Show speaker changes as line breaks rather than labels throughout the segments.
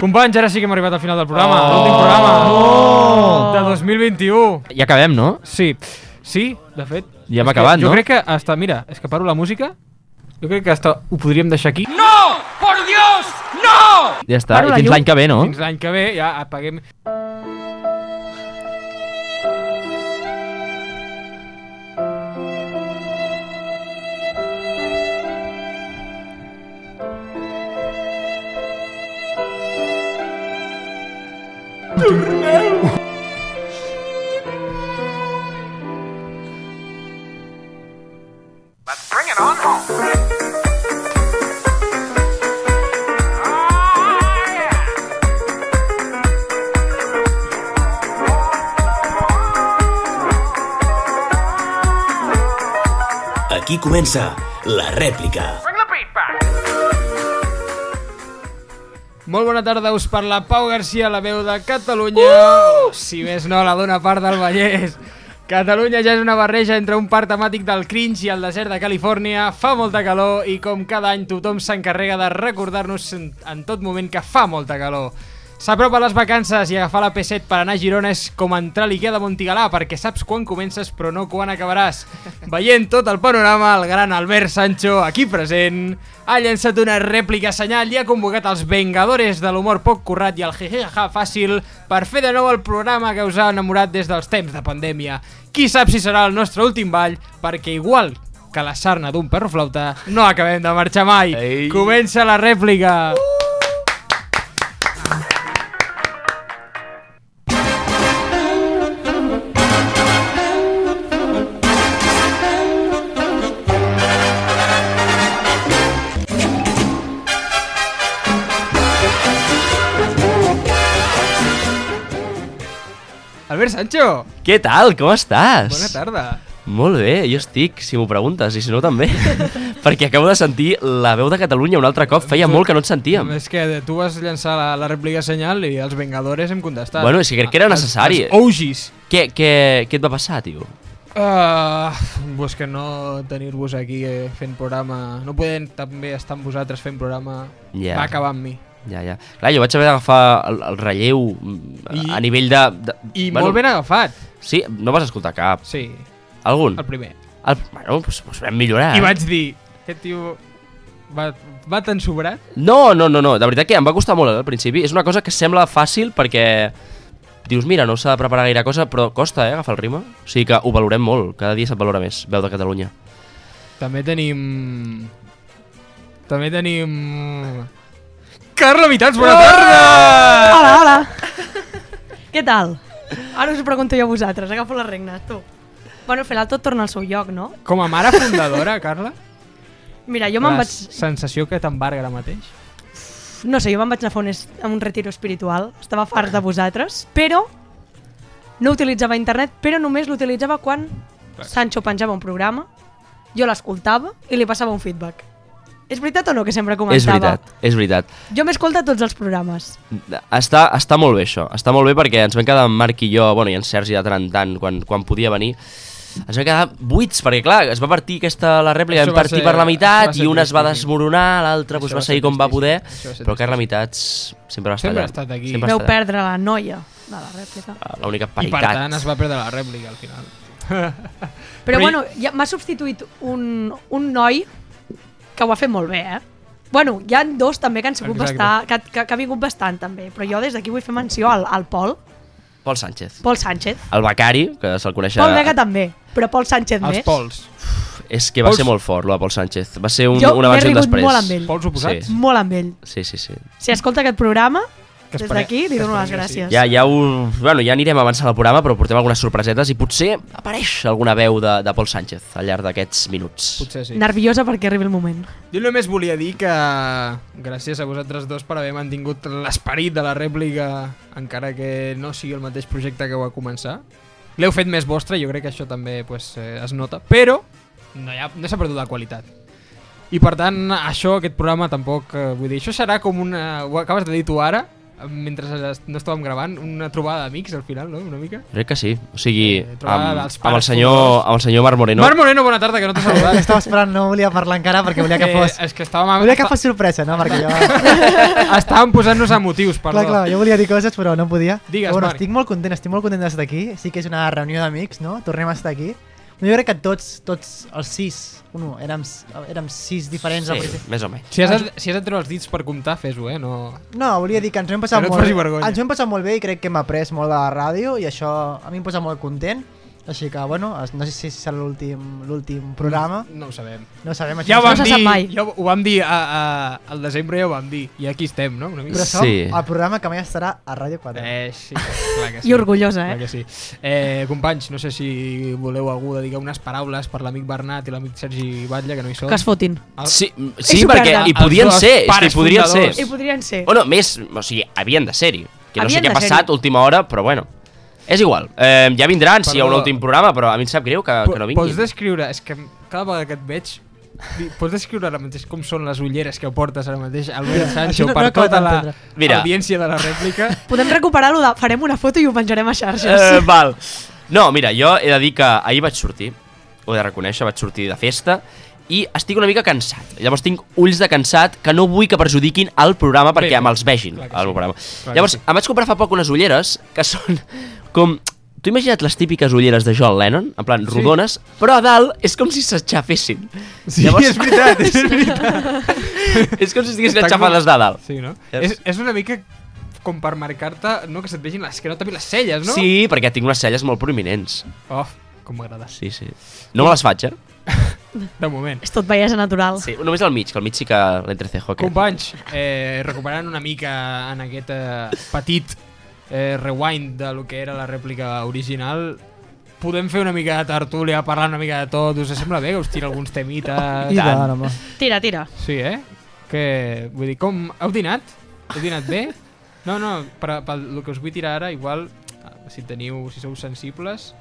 Companys, ara sí que hem arribat al final del programa. Oh. L'últim programa. De 2021.
I acabem, no?
Sí. Sí, de fet.
Ja hem
És que
acabat,
jo
no?
Jo crec que hasta... Mira, és que paro la música. Jo crec que hasta ho podríem deixar aquí. No!
Ja està,
Paro la
i fins
llum.
l'any que ve, no?
Fins l'any que ve ja apaguem...
Aquí comença la rèplica.
Molt bona tarda, us parla Pau Garcia, la veu de Catalunya. Uh! Si més no, la d'una part del Vallès. Catalunya ja és una barreja entre un parc temàtic del cringe i el desert de Califòrnia, fa molta calor i com cada any tothom s'encarrega de recordar-nos en, en tot moment que fa molta calor. S'apropa les vacances i agafar la P7 per anar a Girona és com entrar a l'Ikea de Montigalà perquè saps quan comences però no quan acabaràs. Veient tot el panorama, el gran Albert Sancho, aquí present, ha llançat una rèplica senyal i ha convocat els vengadores de l'humor poc currat i el jejeja fàcil per fer de nou el programa que us ha enamorat des dels temps de pandèmia. Qui sap si serà el nostre últim ball, perquè igual que la sarna d'un perro flauta, no acabem de marxar mai.
Ei.
Comença la rèplica. Uh! Albert Sancho,
Què tal? Com estàs?
bona tarda.
Molt bé, jo estic, si m'ho preguntes, i si no també. Perquè acabo de sentir la veu de Catalunya un altre cop, feia molt que no et sentíem.
És que tu vas llançar la, la rèplica senyal i els Vengadores hem contestat.
Bueno, és que crec que era
Els-
necessari. eh?
Els OGs.
Què, què, què et va passar, tio?
Uh, pues que no tenir-vos aquí eh, fent programa... No podem també estar amb vosaltres fent programa...
Ja.
Va acabar amb mi.
Ja, ja. Clar, jo vaig haver d'agafar el, el relleu mm, a,
I-
a nivell de... de
I bueno, molt ben agafat.
Sí, no vas escoltar cap.
Sí,
Algun?
el primer.
El, bueno, doncs, doncs vam millorar.
I vaig dir... Aquest tio va, va tan sobrat.
No, no, no, no, de veritat que em va costar molt eh, al principi. És una cosa que sembla fàcil perquè dius, mira, no s'ha de preparar gaire cosa, però costa, eh, agafar el ritme. O sigui que ho valorem molt, cada dia se't valora més, veu de Catalunya.
També tenim... També tenim... Carla Vitats,
Ah!
bona tarda!
Hola, hola. Què tal? Ara us ho pregunto jo a vosaltres, agafo les regnes, tu. Bueno, al final tot torna al seu lloc, no?
Com a mare fundadora, Carla,
Mira, jo
la
me'n vaig...
sensació que t'embarga ara mateix.
No sé, jo me'n vaig anar a fer un, es- a un retiro espiritual. Estava fart de vosaltres, però no utilitzava internet, però només l'utilitzava quan Sancho penjava un programa, jo l'escoltava i li passava un feedback. És veritat o no que sempre comentava?
És veritat, és veritat.
Jo m'escolta tots els programes.
Està, està molt bé això, està molt bé perquè ens vam quedar en Marc i jo, bueno, i en Sergi de tant en tant, quan, quan podia venir, ens vam quedar buits, perquè clar, es va partir aquesta, la rèplica,
Això
vam
va
partir
ser-
per la
això va
meitat
ser
i una es va
tristíssim.
desmoronar, l'altra pues,
Això
va
va ser
seguir com va poder,
tristíssim, això va ser
però Carla Mitats sempre va estar
Sempre
allà.
ha estat aquí.
Sempre ha
Veu
estat allà.
perdre la noia de la rèplica.
L'única
I per
paritat.
tant es va perdre la rèplica al final.
Però,
Però i-
bueno, ja m'ha substituït un, un noi que ho ha fet molt bé, eh? Bueno, hi han dos també que han sigut
Exacte.
bastant, que, que, que ha vingut bastant també, però jo des d'aquí vull fer menció al, al Pol,
Pol Sánchez.
Pol Sánchez.
El becari, que se'l coneix...
Pol Vega també, però Pol Sánchez
Els
més.
pols.
És que va
Pol-
ser molt fort, lo de Pol Sánchez. Va ser un,
Jo
un
m'he
abans i un
rigut
després.
molt amb ell.
Pols oposats?
Sí.
Molt amb ell.
Sí, sí, sí.
Si escolta aquest programa,
Que
des
espere-
d'aquí li
que
dono les
esperem que sí.
gràcies.
Ja, ja, ho, bueno, ja anirem avançant el programa, però portem algunes sorpresetes i potser apareix alguna veu de, de Pol Sánchez al llarg d'aquests minuts.
Potser sí.
Nerviosa perquè arribi el moment.
Jo només volia dir que gràcies a vosaltres dos per haver mantingut l'esperit de la rèplica, encara que no sigui el mateix projecte que ho va començar. L'heu fet més vostre, jo crec que això també pues, eh, es nota, però no, hi ha- no s'ha perdut la qualitat. I per tant, això, aquest programa tampoc, eh, vull dir, això serà com una... Ho acabes de dir tu ara, mentre es- no estàvem gravant, una trobada d'amics al final, no? Una mica.
Crec que sí. O sigui,
Eh, trobada
amb,
dels
amb, el
pares
senyor,
fundadors.
amb el senyor Marc
Eh,
Moreno.
Marc Moreno, bona tarda, que no t'he
Clar,
saludat.
Estava esperant, no volia parlar encara perquè volia que fos...
Eh, és que estàvem...
Volia que fos sorpresa, no? Perquè jo...
Estàvem posant-nos a motius, perdó.
Clar, clar, jo volia dir coses però no podia.
Digues,
Però bueno,
Marc.
estic molt content, estic molt content d'estar aquí. Sí que és una reunió d'amics, no? Tornem a estar aquí. Jo crec que tots, tots els sis, bueno, érem, érem sis diferents. al
Sí,
principi.
més o menys.
Si has, de, si has de treure els dits per comptar, fes-ho, eh? No...
No, volia dir que ens ho hem passat
Que no et
molt
faci
bé.
vergonya.
Ens ho hem passat molt bé i crec que hem après molt de la ràdio i això a mi em posa molt content. Així que, bueno, es- no sé si serà l'últim l'últim programa.
No ho sabem.
No ho sabem.
Ja ho
no
vam
se
sé.
sap
dir,
mai.
ja ho, ho vam dir a, a, al desembre, ja ho vam dir. I aquí estem, no? Una mica.
Però som
Sí.
el programa que mai estarà a Ràdio 4.
Eh, sí, clar que sí.
I orgullosa,
Clar
eh?
que sí. Eh, companys, no sé si voleu algú dedicar unes paraules per l'amic Bernat i l'amic Sergi Batlle, que no hi són.
Que es fotin.
El-
Sí, sí
supergrà.
perquè hi
Els
podien
dos
ser, és que
pares
hi podrien ser.
fundadors.
I podrien ser.
O no, més, o sigui, havien de ser-hi. Que no
Havien
sé què
de
ha passat
ser-hi.
a última hora, però bueno. És igual, eh, ja vindran si hi ha un
Perdó.
últim programa, però a mi em sap greu que, que
Pots
no vinguin.
descriure, és que cada vegada que et veig, di- pots descriure ara mateix com són les ulleres que portes ara mateix Albert Sancho
no- no
per
he acabat
tota la
d'entendre.
Mira.
audiència de la rèplica?
Podem recuperar-ho, de... farem una foto i ho penjarem a xarxes.
Eh, val. No, mira, jo he de dir que ahir vaig sortir, ho he de reconèixer, vaig sortir de festa, i estic una mica cansat. Llavors tinc ulls de cansat que no vull que perjudiquin el programa perquè
Bé, bé.
me'ls vegin.
Clar
El
que sí.
programa.
Clar que
Llavors,
sí.
em vaig comprar fa poc unes ulleres que són com... T'ho imagina't les típiques ulleres de John Lennon, en plan rodones, però a dalt és com si s'aixafessin.
Sí, és veritat, és veritat.
És com si estiguessin
Està
aixafades de dalt.
Sí, no?
És-
És, és una mica com per marcar-te, no, que se't vegin l'esquena, també les celles, no?
Sí, perquè tinc unes celles molt prominents.
Oh, com m'agrada.
Sí, sí. No me les faig, eh?
De moment.
És tot bellesa natural.
Sí, només al mig, que al mig sí que l'entrecejo. aquest.
Companys, eh, recuperant una mica en aquest eh, petit eh, rewind de lo que era la rèplica original, podem fer una mica de tertúlia, parlar una mica de tot, us sembla bé que us tira alguns temites?
I tant, home.
Tira, tira.
Sí, eh? Que, vull dir, com, heu dinat? Heu dinat bé? No, no, per, per el que us vull tirar ara, igual, ah, si teniu, si sou sensibles,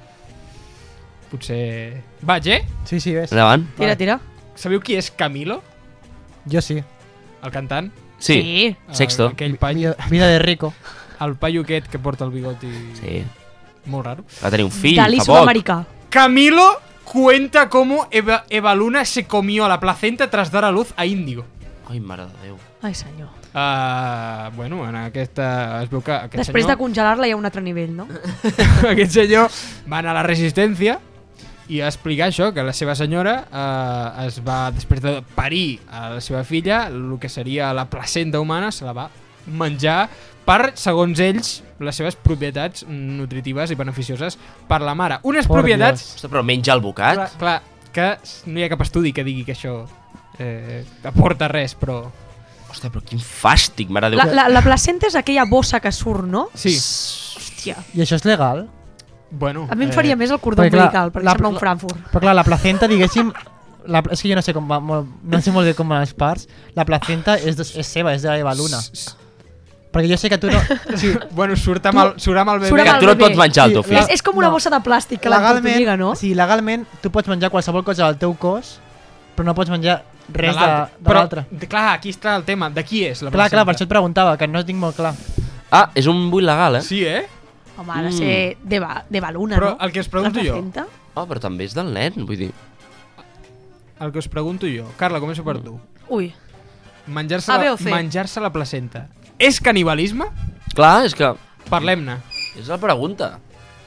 potser... Vaig, eh?
Sí, sí, ves.
Endavant.
Tira,
Vale.
tira.
Sabeu qui és Camilo,
Jo sí.
el cantant?
Sí. Sexto.
Eh, Aquell paio,
Vida, vida de rico.
el paio aquest que porta el bigoti
Sí.
molt raro.
Va tenir un fill
Dalí
fa poc.
sud-americà.
Camilo cuenta cómo Eva, Eva Luna se comió la placenta tras dar a luz a Índigo.
Ai, mare de Déu.
Ai, senyor.
Ah, bueno, en aquesta... Es veu que aquest
Després de
senyor,
congelar-la hi ha un altre nivell, no?
aquest senyor va anar a la resistència i a explicar això, que la seva senyora eh, es va, després de parir a la seva filla, el que seria la placenta humana se la va menjar per, segons ells, les seves propietats nutritives i beneficioses per la mare. Unes
Por
propietats
Ostres, però menja el bocat?
Clar, clar, que s- no hi ha cap estudi que digui que això eh, aporta res, però...
Ostres, però quin fàstic, mare de
La,
Déu.
la, la placenta és aquella bossa que surt, no?
Sí,
Hòstia.
I això és legal?
bueno...
A mi em faria més el cordó
Eh, perquè, clar,
umbilical, perquè
la-
sembla un
la-
Frankfurt.
Però clar, la placenta, diguéssim... La, és que jo no sé, com va, molt, no sé molt bé com van les parts. La placenta és, de- és seva, és de Eva Luna. Perquè jo sé que tu no... Sí,
Bueno, surt amb el, surt amb el bebè.
Surt amb
Que
el
tu no et
bebè.
pots menjar el teu
Sí,
fill.
la-
És, és com una
no.
bossa de plàstic que la tortuga, no?
sí, legalment tu pots menjar qualsevol cosa del teu cos, però no pots menjar
de
res de,
l'altre.
de l'altre.
Però, clar, aquí està el tema. De qui és la
Clar, clar, per
placenta?
això et preguntava, que no ho tinc molt clar.
Ah, és un bull legal, eh?
Sí, eh?
Home, ha de
Mm.
ser de, ba, de baluna,
Però
no?
el que us pregunto
La
jo-
placenta?
Ah, però també és del nen, vull dir.
El que us pregunto jo. Carla, començo per tu.
Ui,
Menjar-se
A,
la,
B o C?
menjar la placenta. És canibalisme?
Clar, és que...
Parlem-ne.
És la pregunta.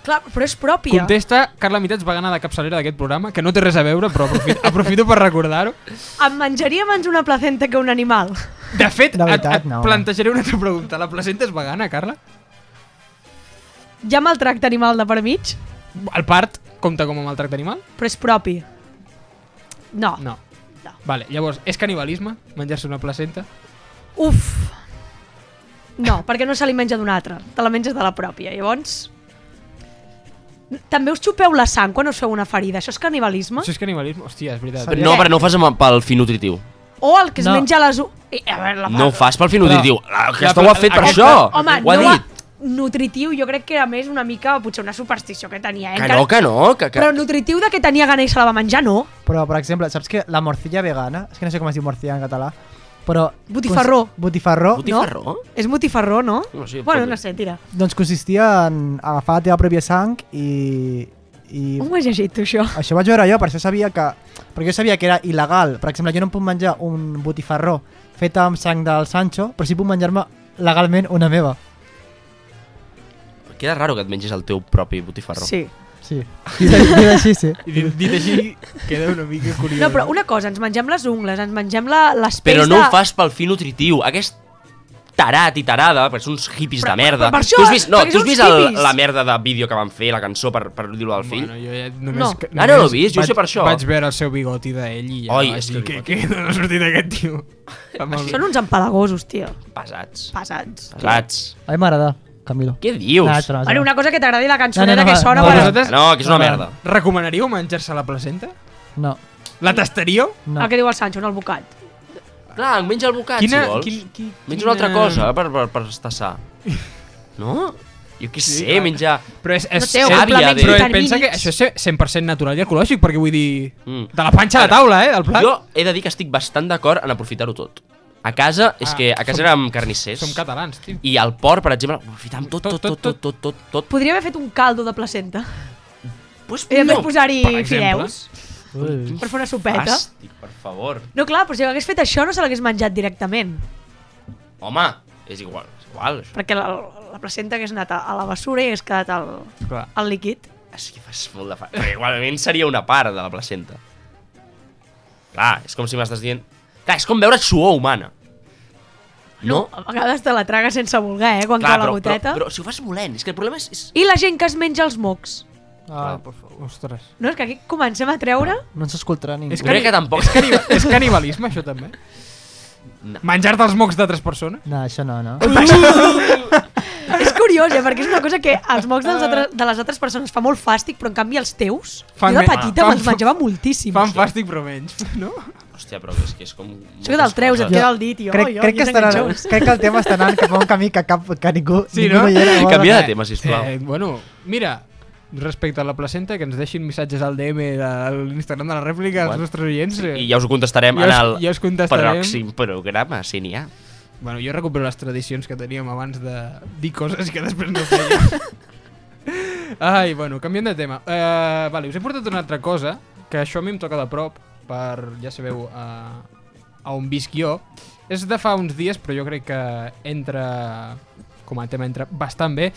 clar, però és pròpia.
Contesta Carla Mitats, vegana de capçalera d'aquest programa, que no té res a veure, però aprofito, aprofito per recordar-ho.
Em menjaria abans una placenta que un animal.
De fet,
De veritat,
et, et
no.
plantejaré una altra pregunta. La placenta és vegana, Carla?
Ja maltracta animal de per mig,
El part compta com a maltracte animal?
però és propi. No.
No.
No.
Vale, llavors, és canibalisme menjar-se una placenta?
Uf. No, perquè no se li menja d'un altre. Te la menges de la pròpia. Llavors... També us xupeu la sang quan us feu una ferida. Això és canibalisme?
Això és canibalisme? Hòstia, és veritat.
Però no, però no ho fas amb, pel fi nutritiu.
O el que es
No.
menja les... u- Eh, A veure, la
No ho fas pel fi
Però-
nutritiu. La, aquesta
però-
ho ha fet per
aquesta-
això.
Home,
ho ha
no
dit.
nutritiu jo crec que era més una mica, potser una superstició que tenia. Eh?
Que no, que no. Que, que...
Però nutritiu de que tenia gana i se la va menjar, no.
Però, per exemple, saps que la morcilla vegana, és que no sé com es diu morcilla en català, Però...
Botifarró.
cons- Botifarró.
Botifarró? No?
És botifarró, no?
No sé,
bueno,
pot-
no sé, tira.
Doncs consistia en agafar la teva pròpia sang i... i
On ho has llegit, tu, això?
Això vaig veure jo, per això sabia que... Perquè jo sabia que era il·legal. Per exemple, jo no em puc menjar un botifarró fet amb sang del Sancho, però sí puc menjar-me legalment una meva.
Queda raro que et mengis el teu propi botifarró.
Sí.
Sí. Dit, dit així, sí.
I dit, dit així, queda una mica curiós.
No, però una cosa, ens mengem les ungles, ens mengem la, les pells
Però no
de...
ho fas pel fi nutritiu. Aquest tarat i tarada, perquè són uns hippies
Però-
de merda.
però per això-
tu has vist, no,
perquè
tu
són
has vist
uns
el,
hippies.
la merda de vídeo que van fer, la cançó per, per dir-ho al fill?
Bueno, jo ja només,
No.
que-
Ah, no
només
l'ho he vist, jo
vaig-
sé per això.
Vaig veure el seu bigoti d'ell i ja
Ai,
vaig
és
dir
que
que,
bigoti.
que no ha sortit aquest tio. Fa molt bé.
Són uns empalagosos, tio.
Pesats.
Pesats.
Pesats.
A mi m'agrada, Camilo.
Què dius?
L'altre,
Bueno, una cosa que t'agradi la
No,
cançoneta
no, no,
que sona...
no,
per-
no,
Vosaltres
No, que és una merda.
recomanaríeu menjar-se la placenta?
No,
La tastaríeu?
no.
El que diu el Sancho, no el bocat.
Clar, menja el bocat, si vols.
qui,
Menja una altra cosa eh, per, per, per estar sa. No? Jo
Sí,
què sé,
clar.
menjar...
Però és, és,
No sé,
és-
probablement
però
vitamínics.
pensa que això és 100% natural i ecològic, perquè vull dir...
Mm.
De la panxa a la taula, eh, del plat.
Jo he de dir que estic bastant d'acord en aprofitar-ho tot. A casa, és
Ah,
que a casa
som-
érem carnissers.
Som catalans, tio.
I al port, per exemple, ho aprofitam tot, tot, tot, tot, tot, tot, tot.
Podria haver fet un caldo de placenta.
Pues,
I després posar-hi
per exemple.
fideus
Ui.
per fer una sopeta.
Fàstic, per favor.
No, clar, però si hagués fet això no se l'hagués menjat directament,
Home, és igual, és igual, això.
perquè la, la placenta hagués anat a, a la basura i hagués quedat al,
Clar.
al líquid.
És que fas molt de fa... Perquè igualment seria una part de la placenta. Clar, és com si m'estàs dient... Clar, és com veure suor humana. No?
A vegades te la traga sense voler, eh, quan
Clar,
cau la
però, però,
goteta.
però, si ho fas volent, és que el problema és... és...
I la gent que es menja els mocs.
Ah,
Ostres.
No, és que aquí comencem a treure...
no ens escoltarà ningú.
És
Jo crec que tampoc...
És, cani és canibalisme, això, també?
No.
Menjar-te els mocs d'altres persones?
No, això no, no.
és curiós, eh, perquè és una cosa que els mocs dels altres, de les altres persones fa molt fàstic, però en canvi els teus...
Fan
jo de
me-
petita
fan-
me'ls menjava moltíssim.
Fan fàstic, però menys, no?
Hòstia, però és que és com...
Això que te'l treus, et
Jo-
queda el dit, jo.
crec,
jo,
crec,
jo
que
ens
estarà,
enganxeu.
crec que el tema està anant cap a un camí que, cap, que ningú,
Sí,
ningú
no?
hi era.
Canvia de tema, sisplau.
Eh, bueno, mira, respecte a la placenta, que ens deixin missatges al DM de a l'Instagram de la rèplica als
Bueno,
nostres oients. eh.
I ja us ho contestarem
Ja
en
us-
el
ja us contestarem.
pròxim programa, si n'hi ha.
Bueno, jo recupero les tradicions que teníem abans de dir coses que després no feia. Ai, bueno, canviant de tema. Uh, vale, us he portat una altra cosa, que això a mi em toca de prop, per, ja sabeu, uh, a on visc jo. És de fa uns dies, però jo crec que entra, com a tema, entra bastant bé.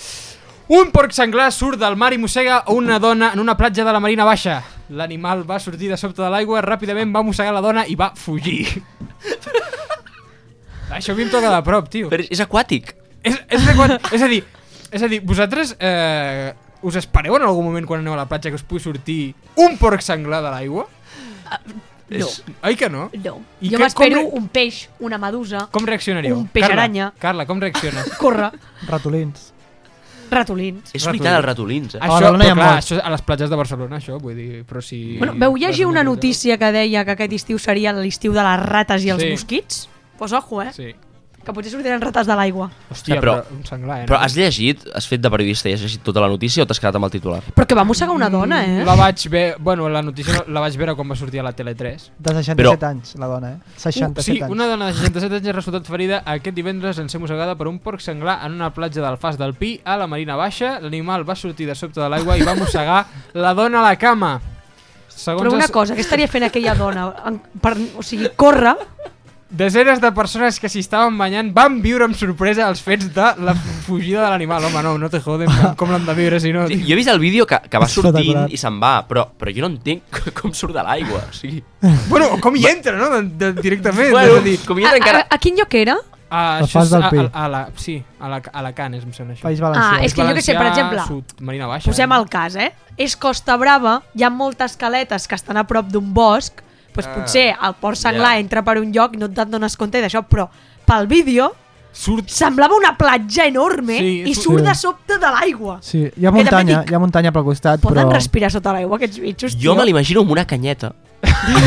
Un porc senglar surt del mar i mossega a una dona en una platja de la Marina Baixa. L'animal va sortir de sobte de l'aigua, ràpidament va mossegar la dona i va fugir. Això a mi em toca de prop, tio.
Però és- és aquàtic.
És, és, de quan, és a dir, és a dir vosaltres eh, us espereu en algun moment quan aneu a la platja que us pugui sortir un porc senglar de l'aigua?
No,
Ai que no?
no.
I que-
Jo m'espero
com re-
un peix, una medusa,
Com reaccionaríeu?
Un peix aranya.
Carla, Carla, com reacciones?
corre,
Ratolins.
ratolins.
És
Ratolins.
veritat, els ratolins, eh?
Ah,
això,
Badalona hi
però
ha
clar,
molts.
això és a les platges de Barcelona, això, vull dir, però si...
Bueno, veu llegir una notícia que deia que aquest estiu seria l'estiu de les rates i els
Sí.
mosquits? Pues ojo, eh?
Sí.
Que potser sortiran rates de l'aigua.
Hòstia, però,
però-
un senglar, eh?
Però has llegit, has fet de periodista i has llegit tota la notícia o t'has quedat amb el titular?
Però que va mossegar una dona, eh?
Mm, La vaig veure... Bueno, la notícia la vaig veure quan va sortir a la Tele3.
De 67
Però-
anys, la dona, eh?
Uh,
67
sí,
anys.
una dona de 67 anys ha resultat ferida aquest divendres en ser mossegada per un porc senglar en una platja del Fas del Pi a la Marina Baixa. L'animal va sortir de sobte de l'aigua i va mossegar la dona a la cama. Segons
Però una
els-
cosa, què estaria fent aquella dona? En, per, o sigui, corre,
Desenes de persones que s'hi estaven banyant van viure amb sorpresa els fets de la fugida de l'animal. Home, no, no te joden, com- com l'han de viure, si no...
Sí,
tio?
jo he vist el vídeo que, que va
És
sortint
espectacular.
i se'n va, però, però jo no entenc com surt de l'aigua. O sigui,
Bueno, com hi entra, no? De, de, directament.
bueno,
és a dir,
com hi
a,
entra
a,
encara...
a quin lloc era?
a,
Al
això és
Fas del
a,
Pi.
a, a, la, sí, a la, a la Canes, em sembla això.
País
Ah,
Valencià.
és que jo que sé, per
Valencià,
exemple,
Sud, Marina Baixa.
Posem el cas, eh? És Costa Brava, hi ha moltes caletes que estan a prop d'un bosc, doncs
Ah,
potser el porc senglar
ja.
entra per un lloc i no te'n dones compte d'això, però pel vídeo
Surt
semblava una platja enorme
Sí,
i
és-
surt de
Sí.
sobte de l'aigua.
Sí, hi ha
Eh, també
muntanya,
dic-
hi ha muntanya pel costat,
Poden
però...
respirar sota l'aigua aquests bitxos,
Jo
tio?
me l'imagino amb una canyeta.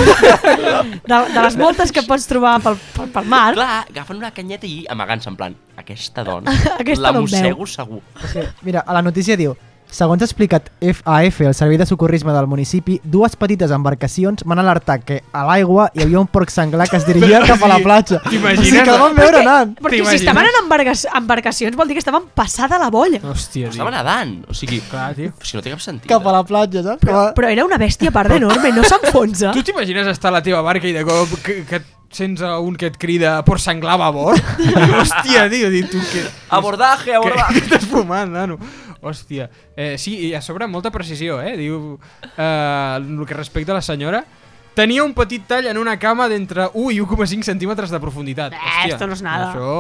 De, de les moltes que pots trobar pel, pel, pel mar,
Clar, agafen una canyeta i amagant-se, en plan, aquesta dona,
Aquesta
la
no em veu.
mossego segur.
És que, mira, a la notícia diu Segons ha explicat FAF, el servei de socorrisme del municipi, dues petites embarcacions van alertar que a l'aigua hi havia un porc senglar que es dirigia
Però,
cap a la
sí,
platja.
t'imagines?
O sigui que el van veure anant.
Perquè si
T'imagines?
estaven en embarga- embarcacions vol dir que estaven passada la bolla.
Hòstia, tio.
Estava nedant, o sigui...
Clar, tio.
O sigui, no té cap sentit.
Cap a la platja, saps? Però,
Però era una bèstia a part d'enorme, no s'enfonsa.
Tu t'imagines estar a la teva barca i de cop que, que et sents a un que et crida por senglar a bord? Hòstia, tio, dic tu que...
Abordaje,
Que,
abordaje.
que estàs fumant, nano. Hòstia. Eh, sí, i a sobre amb molta precisió, eh? Diu, eh, el que respecta a la senyora, tenia un petit tall en una cama d'entre 1 i 1,5 centímetres de profunditat.
Eh,
Hòstia,
esto no es nada.
Això...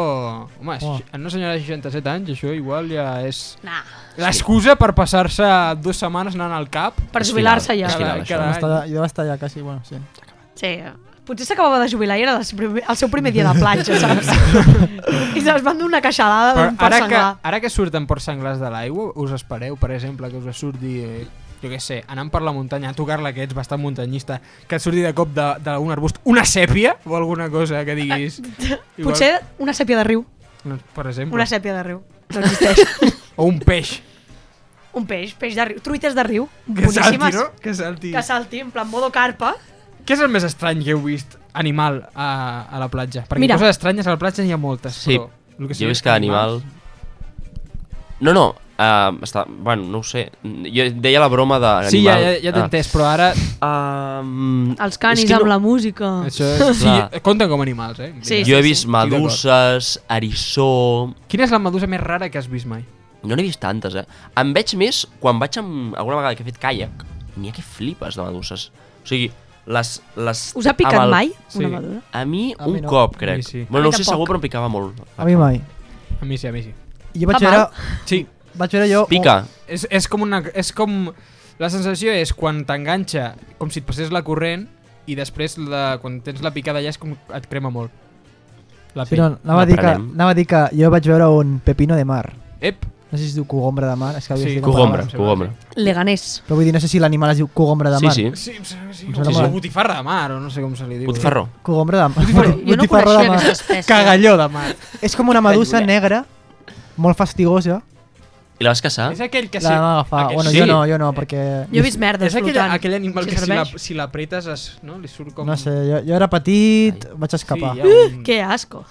Home, oh.
Oh.
en una senyora de 67 anys, això igual ja és...
Nah,
L'excusa per passar-se dues setmanes anant al cap.
per
És
jubilar-se
final,
ja.
és final.
Cada-
això.
cada
Vam
any.
estar, jo vaig estar allà quasi, bueno, sí.
Sí. Potser s'acabava de jubilar i era el seu primer, el seu primer dia de platja, saps? I se'ls van donar una queixalada
Però
d'un per
ara que,
senglar.
ara que surten porcs senglars de l'aigua, us espereu, per exemple, que us surti, eh, jo què sé, anant per la muntanya, a tocar-la, que ets bastant muntanyista, que et surti de cop de- d'algun arbust una sèpia o alguna cosa que diguis... Igual-
Potser una sèpia de riu.
No, per exemple.
Una sèpia de riu. No existeix.
O un peix.
Un peix, peix de riu. Truites de riu.
Que salti,
boníssimes.
no? Que salti.
Que salti, en plan modo carpa.
Què és el més estrany que heu vist animal a, a la platja? Perquè
Mira.
coses estranyes a la platja n'hi ha moltes,
Sí,
però... el
jo
sigui
he vist cada animal...
animals-
No, no, uh, està... Bueno, no ho sé. Jo deia la broma de...
Sí, ja, ja, ja
Ah.
t'he entès, però ara...
Um,
Els canis amb la música.
Això és, sí,
Clar.
compten com animals, eh?
Sí,
Jo he vist
sí.
meduses, eriçó...
Quina és la medusa més rara que has vist mai?
No n'he vist tantes, eh? Em veig més quan vaig amb... Alguna vegada que he fet caiac. N'hi ha que flipes de meduses. O sigui, les... les
Us ha picat
amb el-
mai
sí.
una medusa?
A mi,
A
un
mi oh, no.
cop,
A mi
crec.
sí.
A mi
Bueno, no ho sé
tampoc.
segur, però em picava molt.
A mi mai.
A mi sí, a mi sí.
Jo
Fa
vaig veure,
mal.
Sí,
vaig veure jo...
Pica.
és, és com una... És com... La sensació és quan t'enganxa, com si et passés la corrent, i després la, quan tens la picada ja és com et crema molt. La
Sí,
pell.
no, anava, a dir que,
L'aprenem.
anava a dir que jo vaig veure un pepino de mar.
Ep,
No sé si es diu cogombra de mar. És que
sí.
sí,
Cogombra, cogombra.
Leganés.
Però vull dir, no sé si l'animal es diu cogombra de
Sí,
mar.
sí.
Sí, em sembla que sí.
Em
O sí.
sembla molt.
botifarra de mar, o no sé com se li diu.
Botifarró.
Cogombra de mar.
Botifarró.
Boti-
Jo no
botifarró
coneixia
de mar.
aquesta espècie.
Cagalló de mar. És com una medusa negra, molt fastigosa.
I la vas caçar?
És aquell que...
La vam agafar.
Aquell,
Bueno,
sí.
jo no, jo no, perquè...
Jo he vist merdes
És aquell,
flotant.
aquell animal
Si
que si la-
serveix.
si l'apretes es- no? li surt com...
No sé, jo, jo era petit, vaig escapar.
Sí, hi ha un...
Que asco.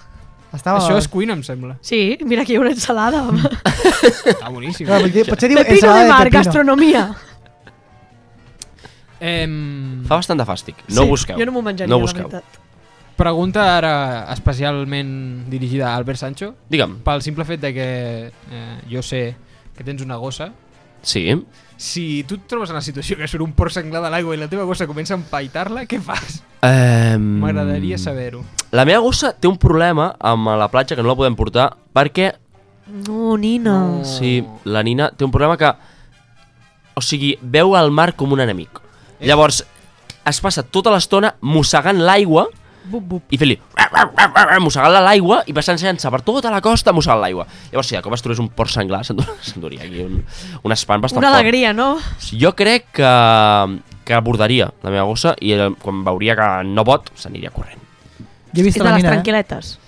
Estava...
Això es cuina, em sembla.
Sí, mira aquí hi ha una ensalada.
Està boníssim.
Clar, vull dir, potser diu
Pepino
ensalada
de mar,
de pepino.
gastronomia.
Em...
Fa bastant de fàstic. No
Sí,
ho busqueu.
Jo no m'ho menjaria,
No ho
la
busqueu.
veritat.
Pregunta ara especialment dirigida a Albert Sancho,
Digue'm.
pel simple fet de que eh, jo sé que tens una gossa.
Sí.
Si tu et trobes en la situació que surt un porc senglar de l'aigua i la teva gossa comença a empaitar-la, què fas?
Um...
M'agradaria saber-ho.
La meva gossa té un problema amb la platja que no la podem portar perquè
No, Nina.
No.
Sí,
Oh.
la Nina té un problema que... O sigui, veu el mar com un enemic.
Eh.
Llavors, es passa tota l'estona mossegant l'aigua
Bup, bup.
i fent-li... mossegant-la a l'aigua i passant-se per tota la costa mossegant l'aigua. Llavors, si de cop es trobés un porc senglar, s'endur- s'enduria aquí un, un espant bastant
Una
fort.
alegria, no?
Jo crec que, que abordaria la meva gossa i eh, quan veuria que no pot, s'aniria corrent.
Jo he
És
vist
de
la
les
mina, eh?
tranquil·letes.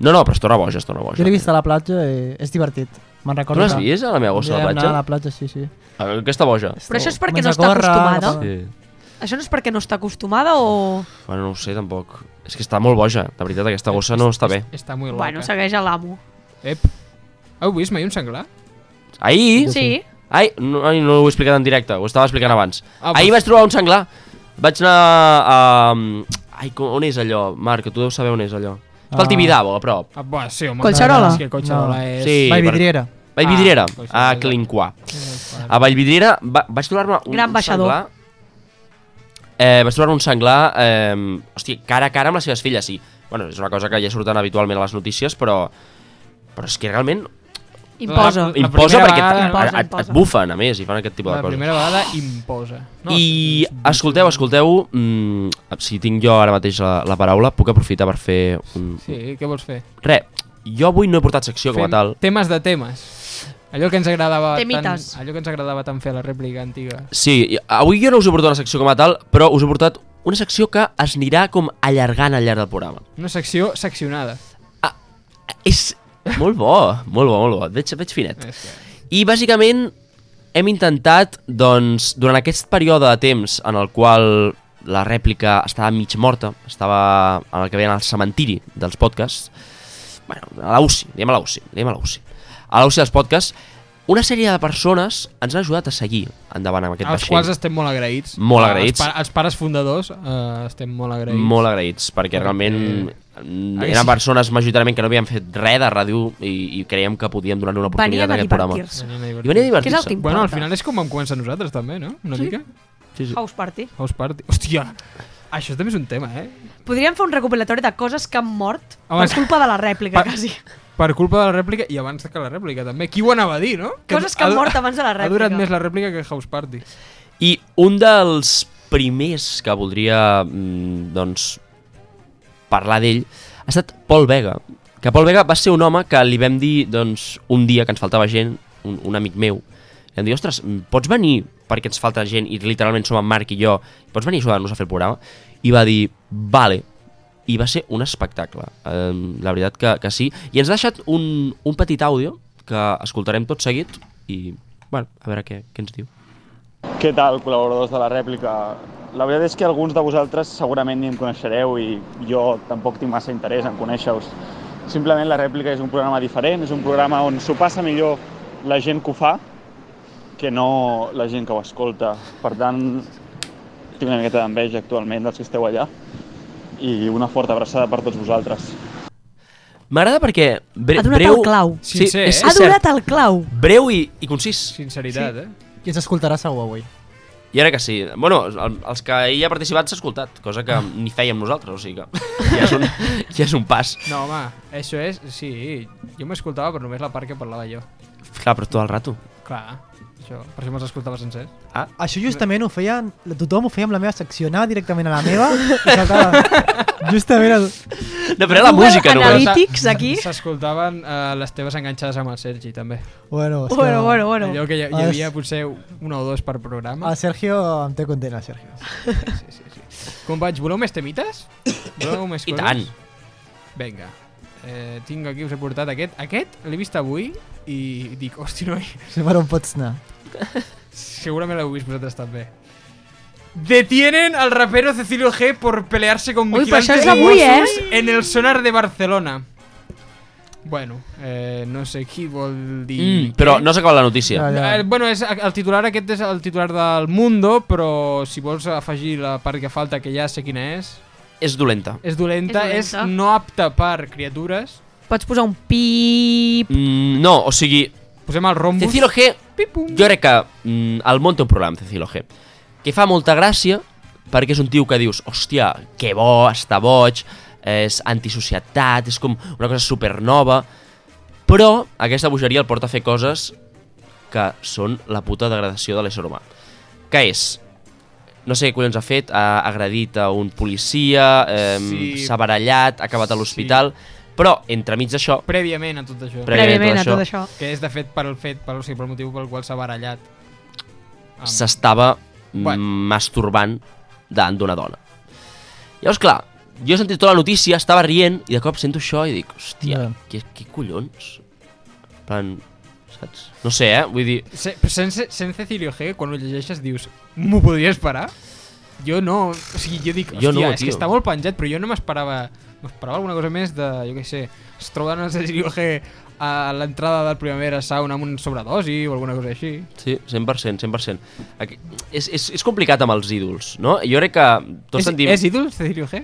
No, no, però es torna boja, es torna boja.
Jo l'he vist a la platja i és divertit. Me'n
Tu
recordo
l'has
que-
vist, a la meva gossa, a la
Vam anar
platja? Ah,
A la platja, sí, sí.
Aquesta boja.
Però això és perquè
Menja
no està
gorra,
acostumada.
la-
Sí.
Això no és perquè no està acostumada o...
Bueno, no ho sé, tampoc. És que està molt boja, de veritat, aquesta gossa no està bé.
Està molt loca.
Bueno, segueix a l'amo.
Ep. Heu vist mai un senglar?
Ahir...
Sí.
Ai, no, ai, no ho he explicat en directe, ho estava explicant abans.
Ah,
Ah,
pues-
Ahir vaig trobar un senglar. Vaig anar a... um, Ai, com- on és allò? Marc, que tu deus saber on és allò. És pel
Ah.
Tibidabo, a prop.
Ah, bah, sí, home.
Collserola?
És que Collserola
No.
és...
Sí,
Vall
per-
Vidriera.
Vallvidrera,
Ah, doncs
ah,
sí,
a
sí.
Clinquà. A Vallvidrera va, vaig trobar-me un,
Gran
un
baixador.
senglar... Eh, vaig trobar un senglar, eh, hòstia, cara a cara amb les seves filles, sí. Bueno, és una cosa que ja surten habitualment a les notícies, però... Però és que realment
Imposa.
La- la-
imposa
primera
perquè
vegada,
et,
no?
et, et,
Imposa.
et bufen, a més, i fan aquest tipus
La
de coses.
primera vegada imposa. No,
I
és-
escolteu, escolteu, mm, si tinc jo ara mateix la, la paraula, puc aprofitar per fer un... Sí.
Sí, què vols fer?
Re, jo avui no he portat secció com a tal.
temes de temes. Allò que ens agradava
Temites.
tant, allò que ens agradava tant fer a la rèplica antiga.
Sí, i- avui jo no us he portat una secció com a tal, però us he portat una secció que es anirà com allargant al llarg del programa.
Una secció seccionada.
És molt bo, molt bo, molt bo. Et Veig, et veig finet.
És que-
I bàsicament hem intentat, doncs, durant aquest període de temps en el qual la rèplica estava mig morta, estava en el que veien al cementiri dels podcasts, bueno, a la UCI, diguem a la UCI, diguem a la UCI, a la UCI dels podcasts, una sèrie de persones ens han ajudat a seguir endavant amb aquest
als
vaixell.
quals estem molt agraïts.
Molt
Els,
agraïts.
pa els pares fundadors eh, estem molt agraïts.
Molt agraïts, perquè realment mm, eren persones majoritàriament que no havien fet res de ràdio i, i creiem que podíem donar una oportunitat a
Venien a
aquest programa.
divertir-se.
Venien a
I venia a
divertir-se.
Que és el que
divertir-se.
importa.
Bueno, al final és com vam començar nosaltres també, no? Una mica.
Sí, sí.
House Party.
House Party. Hòstia, això també és un tema, eh?
Podríem fer un recopilatori de coses que han mort
Home, és-
per culpa de la rèplica,
Pa-
quasi.
Per culpa de la rèplica i abans que la rèplica també. Qui ho anava a dir, no?
Coses que han mort abans de la
Ha durat
rèplica.
més la rèplica que House Party.
I un dels primers que voldria mm, doncs, parlar d'ell ha estat Paul Vega. Que Paul Vega va ser un home que li vam dir doncs, un dia que ens faltava gent, un, un amic meu, i em diu, ostres, mm, pots venir perquè ens falta gent i literalment som en Marc i jo, pots venir a ajudar-nos a fer el programa? I va dir, vale, i va ser un espectacle, eh, la veritat que, que sí. I ens ha deixat un, un petit àudio que escoltarem tot seguit i, bueno, a veure què, què ens diu.
Què tal, col·laboradors de la rèplica? La veritat és que alguns de vosaltres segurament ni em coneixereu i jo tampoc tinc massa interès en conèixer-vos. Simplement la rèplica és un programa diferent, és un programa on s'ho passa millor la gent que ho fa que no la gent que ho escolta. Per tant, tinc una miqueta d'enveja actualment dels que esteu allà i una forta abraçada per tots vosaltres.
M'agrada perquè bre
Ha donat
breu...
el clau.
Sí,
Sincer,
és,
eh?
Ha
és cert.
durat el clau.
Breu i, i concís.
Sinceritat, sí. eh?
I ens escoltarà segur avui.
I ara que sí. Bueno, el, els que hi ha participat s'ha escoltat, cosa que ni fèiem nosaltres, o sigui que ja és un, ja és un pas.
No, home, això és... Sí, jo m'escoltava, però només la part que parlava jo.
Clar, però tot el rato.
Clar, això. Per això me'ls escoltava sencer.
Això justament ho feia, tothom ho feia amb la meva secció, anava directament a la meva i saltava. justament el...
No, però era la
Google
música només.
Analytics. Tícs, aquí.
S'escoltaven eh, les teves enganxades amb el Sergi, també.
Bueno, és que-
Bueno, bueno,
Bueno, Allò
bueno.
que hi, hi
es-
havia potser una o dos per programa.
El Sergio em té content, el Sergio.
Sí, sí, sí. Com vaig? Voleu més temites? Voleu més
I
coses?
tant.
Vinga. Eh, tinc aquí, us he portat aquest. Aquest l'he vist avui i dic, hòstia, noi,
Sé per on pots anar.
segurament l'heu vist vosaltres també. Detienen al rapero Cecilio G por pelearse con
Ui, però
vigilantes
això és avui,
famosos en el sonar de Barcelona. Bueno, eh, no sé qui vol dir...
Mm, però no s'ha acabat la notícia.
No, no.
Eh, bueno, és, el titular aquest és el titular del Mundo, però si vols afegir la part que falta, que ja sé quina és,
És dolenta.
és dolenta, és,
És dolenta.
no apta per criatures.
Pots posar un pip...
Mm, no, o sigui,
Posem el rombus.
Cecilo G,
Pipum.
jo crec que mm, el món té un problema amb Cecilo G, que fa molta gràcia perquè és un tio que dius, hòstia, que bo, està boig, és antisocietat, és com una cosa supernova, però aquesta bogeria el porta a fer coses que són la puta degradació de l'ésser humà. Que és, no sé què collons ha fet, ha agredit a un policia, eh,
Sí.
s'ha barallat, ha acabat a
Sí.
l'hospital, però entremig d'això,
Prèviament a tot això.
Prè- Prèviament
Prèviament
a
a
tot
tot això.
que és, de fet, per el fet, per, o sigui, pel motiu pel qual s'ha barallat. Amb-
s'estava
Bueno.
mm, masturbant davant d'una dona. Llavors, clar, jo he sentit tota la notícia, estava rient, i de cop sento això i dic, hòstia,
Ja.
què, què collons? En plan, saps? No sé, eh? Vull dir,
Se, però sense, sense Cecilio G, quan ho llegeixes, dius, m'ho podries parar? Jo no, o sigui, jo dic, hòstia,
Jo no,
és
tio.
que està molt penjat, però jo no m'esperava, m'esperava alguna cosa més de, jo què sé, es troben el Cecilio G a l'entrada del Primavera Sound amb un sobredosi o alguna cosa així.
sí, 100%, 100%. Aquí, és, és, és complicat amb els ídols, no? Jo crec que tots
és,
sentim
és ídol, Cecilio G?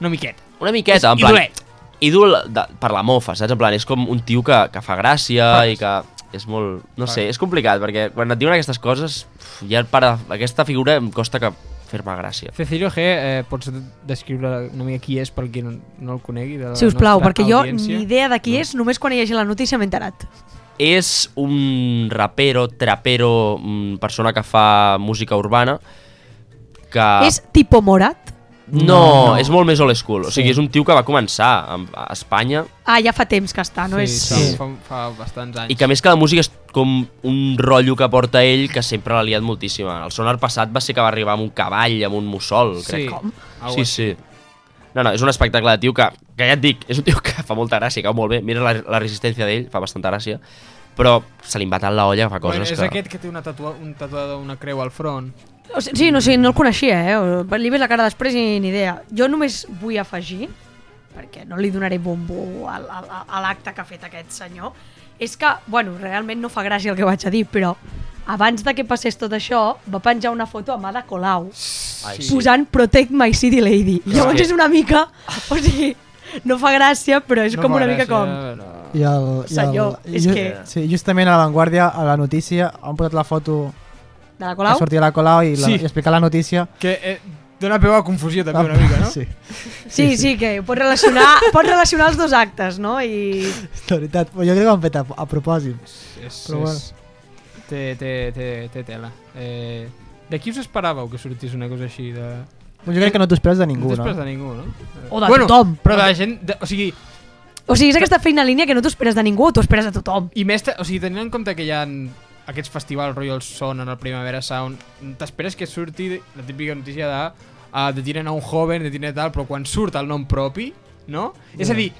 Una miqueta.
una miqueta,
és
en plan...
idolet.
Ídol de, per la mofa, saps? En plan, és com un tio que, que fa gràcia i que és molt... No sé, és complicat, perquè quan et diuen aquestes coses, uf, ja para, aquesta figura em costa que fer-me gràcia.
Cecilio G, eh, pots descriure una mica qui és per qui no, no el conegui? De la
Si us plau,
nostra
perquè jo
audiència?
ni idea de qui és, només quan hi hagi la notícia m'he enterat.
és un rapero, trapero, mm, persona que fa música urbana, que...
És tipo Morat?
No, no, és molt més old school. O sigui, és un tio que va començar a, a Espanya
Ah, ja fa temps que està, no
sí,
és...
sí. Fa, fa bastants anys.
i que a més que la música és com un rotllo que porta ell que sempre l'ha liat moltíssim. El sonar passat va ser que va arribar amb un cavall, amb un mussol, crec.
Com? Au, eh.
Sí, sí. No, no, és un espectacle de tio que, que ja et dic, és un tio que fa molta gràcia, cau molt bé. Mira la, la resistència d'ell, fa bastanta gràcia. però se li va tant la olla que fa
Bueno,
coses
és
que...
aquest que té una tatua un tatuada una creu al front.
O sigui, sí, no, sí, no el coneixia, eh? O- Li veig la cara després i ni idea. Jo només vull afegir, perquè no li donaré bombo al- al- a a l'acte que ha fet aquest senyor, és que, bueno, realment no fa gràcia el que vaig a dir, però abans de que passés tot això, va penjar una foto a Mada Colau
Ai,
sí. posant Protect My City Lady. I llavors
Sí.
és una mica... O sigui, no fa gràcia, però és no com una mica com...
com...
I el, i
Senyor,
el,
és
ju-
que-
Sí, justament a La Vanguardia, a la notícia, han posat la foto
De la
Colau?
Colau?
que sortia la Colau i, la,
Sí.
i explicar la notícia.
Que eh, dona peu a confusió també una mica, no?
Sí,
Sí, sí, sí, que pots relacionar, pots relacionar els dos actes, no? I
la veritat. Jo crec que ho han fet a, a propòsit.
És,
Però bueno.
és... Té, té, té, té tela. Eh, de qui us esperàveu que sortís una cosa així? De...
Jo crec que no t'ho esperes de ningú,
no
no?
t'esperes de ningú, no? Eh,
O de tothom.
Però de gent... De, o sigui,
O sigui, és aquesta feina línia que no t'ho esperes de ningú, t'ho esperes de tothom.
i més, te- o sigui, tenint en compte que hi ha aquests festivals, rotllo el son en el Primavera Sound, t'esperes que surti la típica notícia de uh, detienen a un joven, detienen tal, però quan surt el nom propi, no? Yeah. És a dir,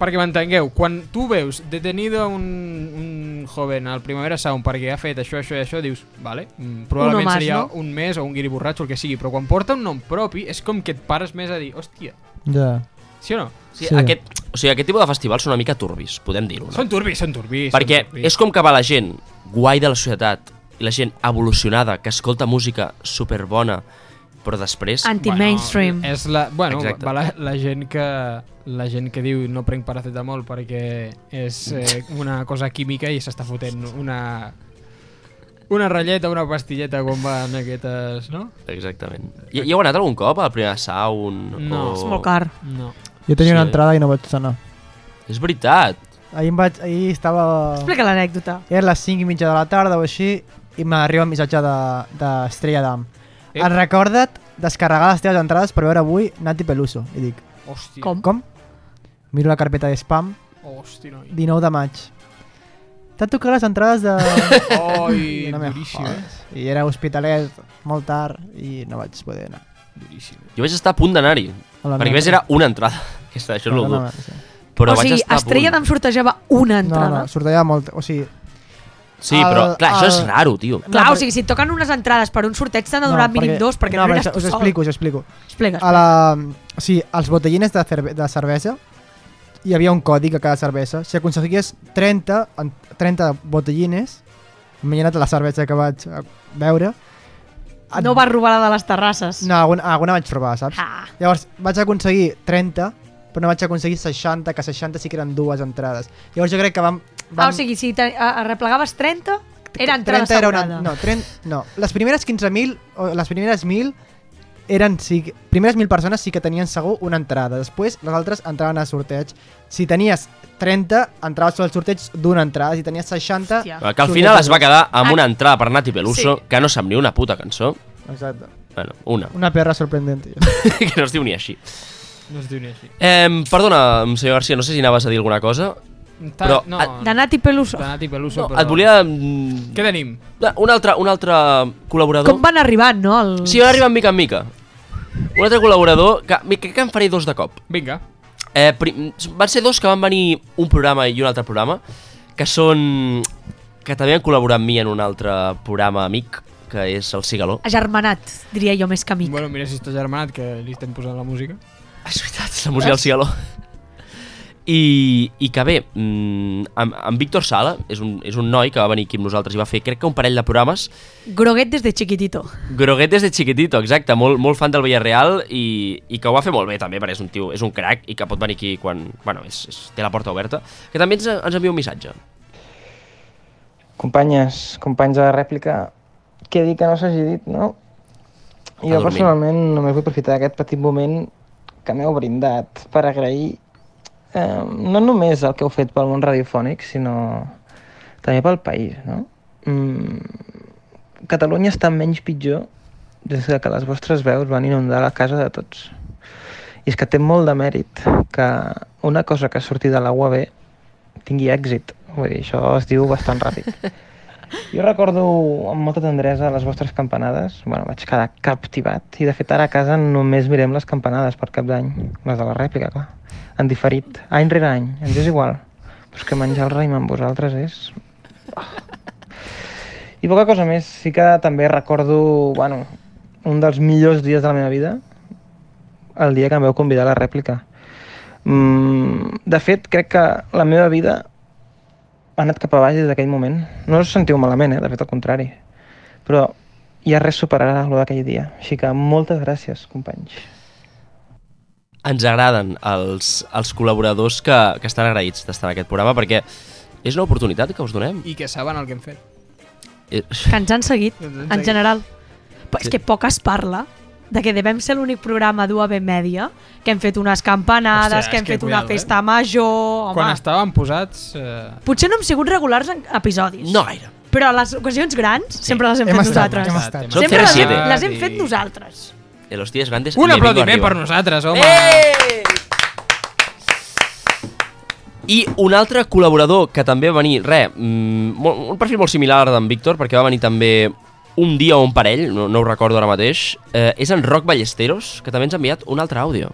perquè m'entengueu, quan tu veus detenido a un, un joven al Primavera Sound perquè ha fet això, això i això, dius, vale, mm, probablement
más,
seria
no?
un mes o un guiri borratxo, el que sigui, però quan porta un nom propi és com que et pares més a dir, hòstia,
Ja.
sí o no?
Sí,
Sí.
Aquest, o sigui, aquest tipus de festivals són una mica turbis, podem dir-ho. No?
Són turbis, són turbis.
Perquè
són turbis.
és com que va la gent guai de la societat i la gent evolucionada, que escolta música superbona, però després...
Anti-mainstream.
Bueno, és la, bueno,
Exacte.
va la, la gent que la gent que diu no prenc paracetamol perquè és eh, una cosa química i s'està fotent una una ratlleta, una pastilleta quan va en aquestes, no?
Exactament. I, hi heu anat algun cop al primer sound?
No.
o...
És molt car.
No.
Jo tenia sí. una
Sí.
entrada i no vaig anar.
És veritat.
Ahir, em vaig, ahir estava...
Explica l'anècdota.
Era les 5 i mitja de la tarda o així i m'arriba un missatge d'Estrella de, d'Am.
Eh?
Eh? Et recorda't descarregar les teves entrades per veure avui Nati Peluso. I dic,
Hòstia.
Com?
com? Miro la carpeta de spam,
Hòstia, noi.
19 de maig. T'ha tocat les entrades de...
Oi,
I no me
duríssim, eh?
jodes. I era hospitalet, molt tard, i no vaig poder anar.
Duríssim.
Jo vaig estar a punt d'anar-hi.
A la
Perquè
meva-
més era una entrada. Aquesta, això és el dur. Però
o
vaig
sigui,
estar a
Estrella
punt.
d'en sortejava una
No, no,
entrada. No,
sortellava molt... O sigui,
Sí, però
al-
clar, això és
al-
raro, tio.
no. Clar,
no,
o sigui, si et toquen unes entrades per un sorteig t'han de donar no, mínim dos perquè no, no
però
aniràs
us-
tu
Us
sol.
explico, us explico.
Expliques.
A la, o sigui, als botellines de, cerve de cervesa hi havia un còdic a cada cervesa. Si aconseguies 30, en- 30 botellines, imagina't la cervesa que vaig a veure... et-
No vas robar la de les terrasses.
Ah, No, alguna, alguna vaig provar, saps?
Ah.
Llavors, vaig aconseguir 30, però no vaig aconseguir 60, que 60 sí que eren dues entrades. Llavors jo crec que vam... vam
Ah, o sigui, si te- a- arreplegaves 30, era entrada
30 era una,
assegurada.
no, 30, no, les primeres 15.000, o les primeres 1.000, eren, sí, que- primeres 1.000 persones sí que tenien segur una entrada, després les altres entraven al sorteig. Si tenies 30, entraves al sorteig d'una entrada, si tenies 60...
Hòstia.
Que al final es va quedar amb una entrada per Nati Peluso,
Ah. Sí.
que no sap ni una puta cançó.
Exacte.
Bueno, una,
Una perra sorprendent.
que no es diu ni així.
No es diu ni així.
Eh, perdona, senyor Garcia, no sé si anaves a dir alguna cosa.
Ta,
Però,
no,
a-
De Nati Peluso.
Danat i Peluso,
No,
però...
et volia... mm,
Què tenim?
Un altre, un altre col·laborador.
Com van arribant, no? El...
Sí, va arribar mica en mica. Un altre col·laborador, que mi- crec que en faré dos de cop.
Vinga.
Eh, prim, van ser dos que van venir un programa i un altre programa, que són... que també han col·laborat amb mi en un altre programa amic, que és el Cigaló.
Agermanat, diria jo, més que amic.
Bueno, mira si estàs germanat, que li estem posant la música.
Ah, És veritat, la música del Cigaló. I, i que bé, mm, en, en Víctor Sala és un, és un noi que va venir aquí amb nosaltres i va fer crec que un parell de programes
Groguet des de chiquitito.
Groguet des de chiquitito, exacte, molt, molt fan del Villarreal i, i que ho va fer molt bé també, perquè és un tio, és un crac i que pot venir aquí quan, bueno, és, és, té la porta oberta, que també ens, ens envia un missatge.
Companyes, companys de la rèplica, què dir que no s'hagi dit, no?
A
Jo
dormir.
personalment només vull aprofitar aquest petit moment que m'heu brindat per agrair eh, no només el que heu fet pel món radiofònic, sinó també pel país, no? Mm, Catalunya està menys pitjor des de que les vostres veus van inundar la casa de tots. I és que té molt de mèrit que una cosa que surti de la UAB tingui èxit. Vull dir, això es diu bastant ràpid. Jo recordo amb molta tendresa les vostres campanades. Bueno, vaig quedar captivat. I de fet ara a casa només mirem les campanades per cap d'any. Les de la rèplica, clar. En diferit. Any rere any. Ens és igual. Però és que menjar el raïm amb vosaltres és I poca cosa més, sí que també recordo, bueno, un dels millors dies de la meva vida, el dia que em veu convidar a la rèplica. Mm, de fet, crec que la meva vida ha anat cap a baix des d'aquell moment. No us sentiu malament, eh? de fet, al contrari. Però ja res superarà el d'aquell dia. Així que moltes gràcies, companys.
ens agraden els, els col·laboradors que, que estan agraïts d'estar en aquest programa perquè és una oportunitat que us donem.
I que saben el que hem fet.
Eh,
Que ens han seguit,
Ens han
en
seguit.
general. Però és que poc es parla de que devem ser l'únic programa d'UAB Mèdia, que hem fet unes campanades,
Ostres,
que hem
que
fet una
cuidado, eh?
festa major...
Quan
Home,
estàvem posats... Eh...
potser no hem sigut regulars en episodis,
No gaire.
però a les ocasions grans sempre les hem,
Hem
fet
estat,
nosaltres.
hem estat.
Són
Sempre les hem,
CR7.
les hem fet nosaltres.
De los días grandes...
Un
le vengo
aplaudiment
arriba.
per nosaltres, home. Eh!
I un altre col·laborador que també va venir, re, mm, molt- un perfil molt similar d'en Víctor, perquè va venir també un dia o un parell, no, no ho recordo ara mateix, eh, és en Roc Ballesteros, que també ens ha enviat un altre àudio.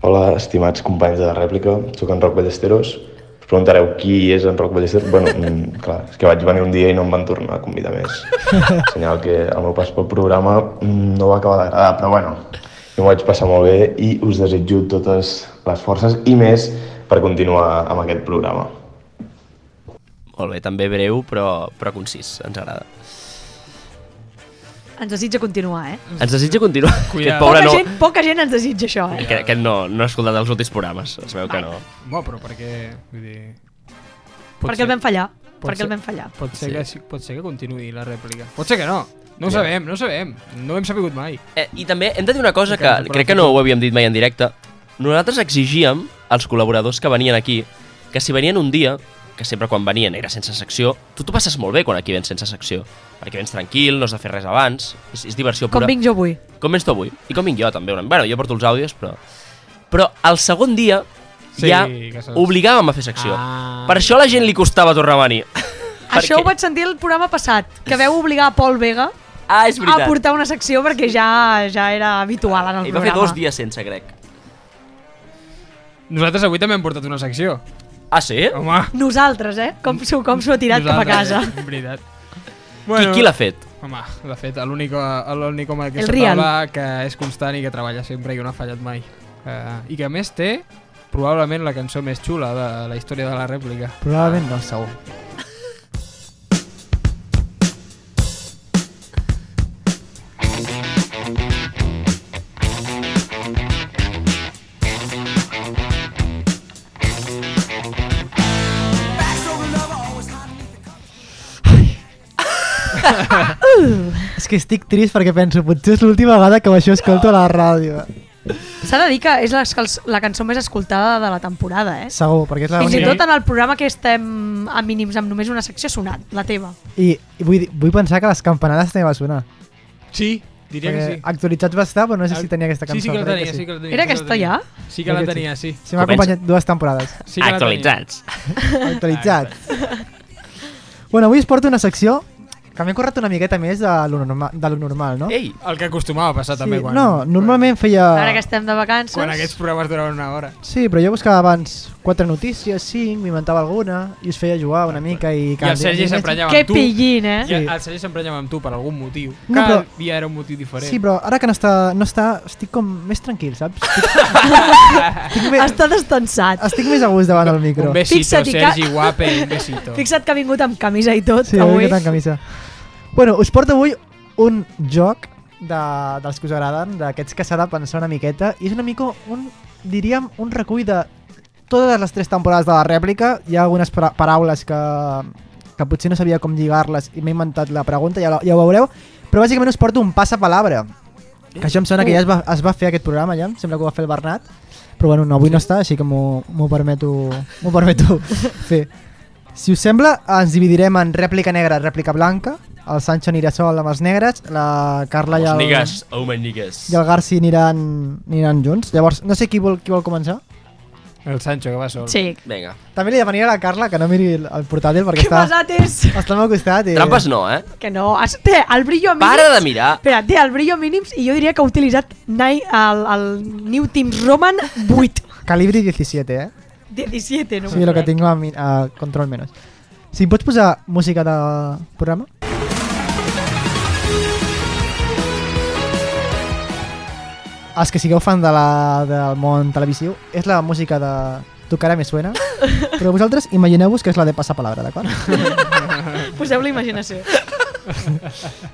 Hola, estimats companys de la rèplica, sóc en Roc Ballesteros. Us preguntareu qui és en Roc Ballesteros? Bueno, mm, clar, és que vaig venir un dia i no em van tornar a convidar més. Senyal que el meu pas pel programa mm, no va acabar d'agradar, però bueno, jo m'ho vaig passar molt bé i us desitjo totes les forces i més per continuar amb aquest programa.
Molt bé, també breu, però, però concís, ens agrada.
Ens desitja continuar, eh?
Ens desitja continuar.
Cuidado. Pobre
Aquest
Poca,
pobre no...
gent, poca gent ens desitja això, eh?
Aquest, aquest no, no ha escoltat els últims programes, es veu que no.
Bueno, però perquè... Vull dir...
perquè el vam fallar.
Pot
perquè el
ser.
vam fallar.
Pot ser, que, pot ser que continuï la rèplica. Pot ser que no. No ho sabem, no ho sabem. No ho hem sapigut mai.
Eh, I també hem de dir una cosa que
Encara no
crec que no ho havíem dit mai en directe. Nosaltres exigíem als col·laboradors que venien aquí que si venien un dia, que sempre quan venien era sense secció, tu t'ho passes molt bé quan aquí vens sense secció, perquè vens tranquil, no has de fer res abans, és, és diversió
Com
pura.
vinc jo avui?
Com vens tu avui? I com vinc jo també. Una... Bueno, jo porto els àudios, però... Però el segon dia
Sí,
ja
que saps.
obligàvem a fer secció.
Ah.
Per això a la gent li costava tornar a venir.
Això
Perquè-
ho vaig sentir el programa passat, que veu obligar a Pol Vega
Ah, és veritat.
a portar una secció perquè ja ja era habitual en el
Ell va
programa.
fer dos dies sense, crec.
Nosaltres avui també hem portat una secció.
Ah, sí?
Home,
Nosaltres, eh? Com s'ho com s'ho ha tirat cap a casa.
nosaltres, És veritat.
Bueno. Qui, qui l'ha fet?
Home, de fet, l'únic l'únic home que
El
se
Rial.
parla que és constant i que treballa sempre i que no ha fallat mai. Uh, I que a més té probablement la cançó més xula de la història de la rèplica.
Probablement no, segur. És que estic trist perquè penso, potser és l'última vegada que això escolto a la ràdio.
S'ha de dir que és la, la cançó més escoltada de la temporada, eh?
Segur, perquè és la
Fins i
única-
tot en el programa que estem a mínims amb només una secció ha sonat, la teva.
I, i vull, dir- vull pensar que les campanades també va sonar.
Sí, diria que
Perquè
sí. Ah,
Actualitzats va estar, però no sé si tenia aquesta cançó.
Sí, sí que la
crec
tenia, sí. que la tenia.
Era
sí que la
castellà?
tenia. Sí que la
Crec que
tenia, sí.
Sí, m'ha acompanyat dues temporades.
sí que la tenia.
Ah,
Actualitzat. bueno, avui us porto una secció que m'he currat una miqueta més de lo, norma, de lo normal, no?
Ei,
El que acostumava a passar també quan...
no, normalment feia...
Eh, Ara que estem de vacances...
Quan aquests programes duraven una hora.
Sí, però jo buscava abans quatre notícies, cinc, m'inventava alguna i us feia jugar una mica i...
I el Sergi s'emprenyava
Que
amb tu.
pillin, eh?
I el Sergi s'emprenyava amb tu per algun motiu.
No,
Cada
però-
dia era un motiu diferent.
Sí, però ara que no està, no està estic com més tranquil, saps? Estic, estic, més,
Està destensat.
estic més a gust davant del micro.
Un besito,
Fixa't i que-
Sergi, guape, un besito.
Fixa't que ha vingut amb camisa i tot,
Sí, avui
avui.
que camisa. Bueno, us porto avui un joc de, dels que us agraden, d'aquests que s'ha de pensar una miqueta, i és una mica un, diríem, un recull de totes les tres temporades de la rèplica. Hi ha algunes para paraules que, que potser no sabia com lligar-les i m'he inventat la pregunta, ja, la, ja ho veureu, però bàsicament us porto un passapalabra. Que això em sona que ja es va, es va fer aquest programa, ja, em sembla que ho va fer el Bernat, però bueno, no, avui no està, així que m'ho m'ho permeto, m'ho permeto fer. Si us sembla, ens dividirem en rèplica negra, rèplica blanca. El Sancho anirà sol amb els negres, la Carla i
els
el,
nigues, oh my nigues.
i el Garci aniran, aniran junts. Llavors, no sé qui vol, qui vol començar.
El Sancho, que va sol.
Sí.
Vinga.
També li demanaria a la Carla que no miri el, el portàtil perquè
Que
està,
pesat és!
està al meu costat. I...
Trampes no, eh?
Que no, has- té el brillo a mínims.
Para de mirar.
Espera, té el brillo a mínims i jo diria que ha utilitzat Nai, el, el New Teams Roman 8.
Calibri 17, eh?
17, no?
Sí, lo que tinc a, mi- a control menos. Si pots posar música de programa? Els que sigueu fan de la, del món televisiu, és la música de Tu cara me suena, però vosaltres imagineu-vos que és la de Passapalabra, d'acord?
Poseu la imaginació.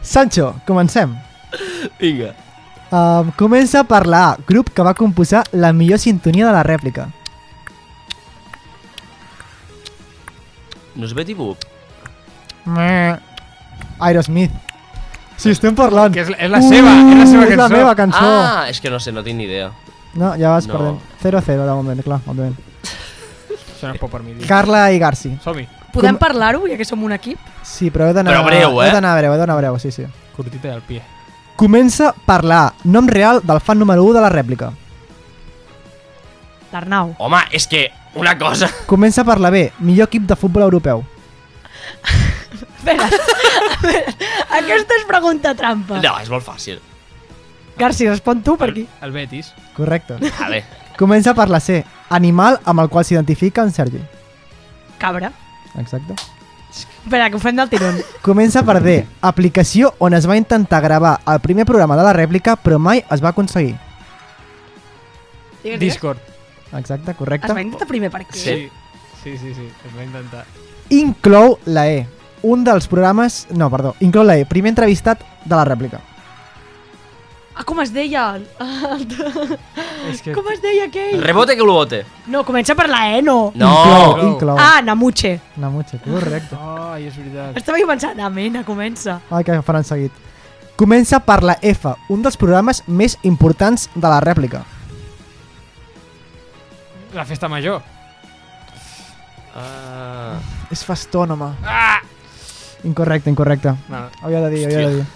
Sancho, comencem.
Vinga.
Um, comença per la A, grup que va composar la millor sintonia de la rèplica.
No és Betty Boop?
Aerosmith. Si estem parlant... Uh,
Que és la- és la seva, és la seva
és la
cançó.
meva cançó.
Ah, és que no sé, no tinc ni idea.
No, ja vas
No.
no. perdent. 0-0 de moment, clar, òbviament.
Això no es pot permetir.
Carla i Garci.
Som-hi.
Podem
Com-
parlar-ho, ja que som un equip?
Sí, però heu d'anar...
Però breu, eh?
Heu d'anar breu, heu d'anar breu, sí, sí.
Curtita del pie.
Comença per la A, nom real del fan número 1 de la rèplica.
L'Arnau.
Home, és que una cosa...
Comença per la B, millor equip de futbol europeu.
Espera, aquesta és pregunta trampa.
No, és molt fàcil.
Garci, respon tu per aquí.
El Betis.
Correcte.
Vale.
Comença per la C, animal amb el qual s'identifica en Sergi.
Cabra.
Exacte.
Espera, que ho fem del tirón.
Comença per D, aplicació on es va intentar gravar el primer programa de la rèplica però mai es va aconseguir.
Discord.
Exacte,
Es va
correcte.
intentar primer per aquí.
Sí.
Sí, sí, sí. Es va intentar.
Inclou la E, un dels programes... No, perdó, inclou la E, primer entrevistat de la rèplica.
Ah, com es deia? el- el-
És que...
com es deia aquell?
Rebote que lo bote.
No, comença per la E, no.
No!
Inclou, inclou. Ah.
Ah, Namuche.
Namuche, correcte.
Ai, és veritat.
Estava jo pensant, Amena, comença.
Ai, que faran seguit. Comença per la F, un dels programes més importants de la rèplica.
La festa major.
Ah.
És fastònoma. Ah! Incorrecte, incorrecte.
No.
Havia de dir, havia de dir.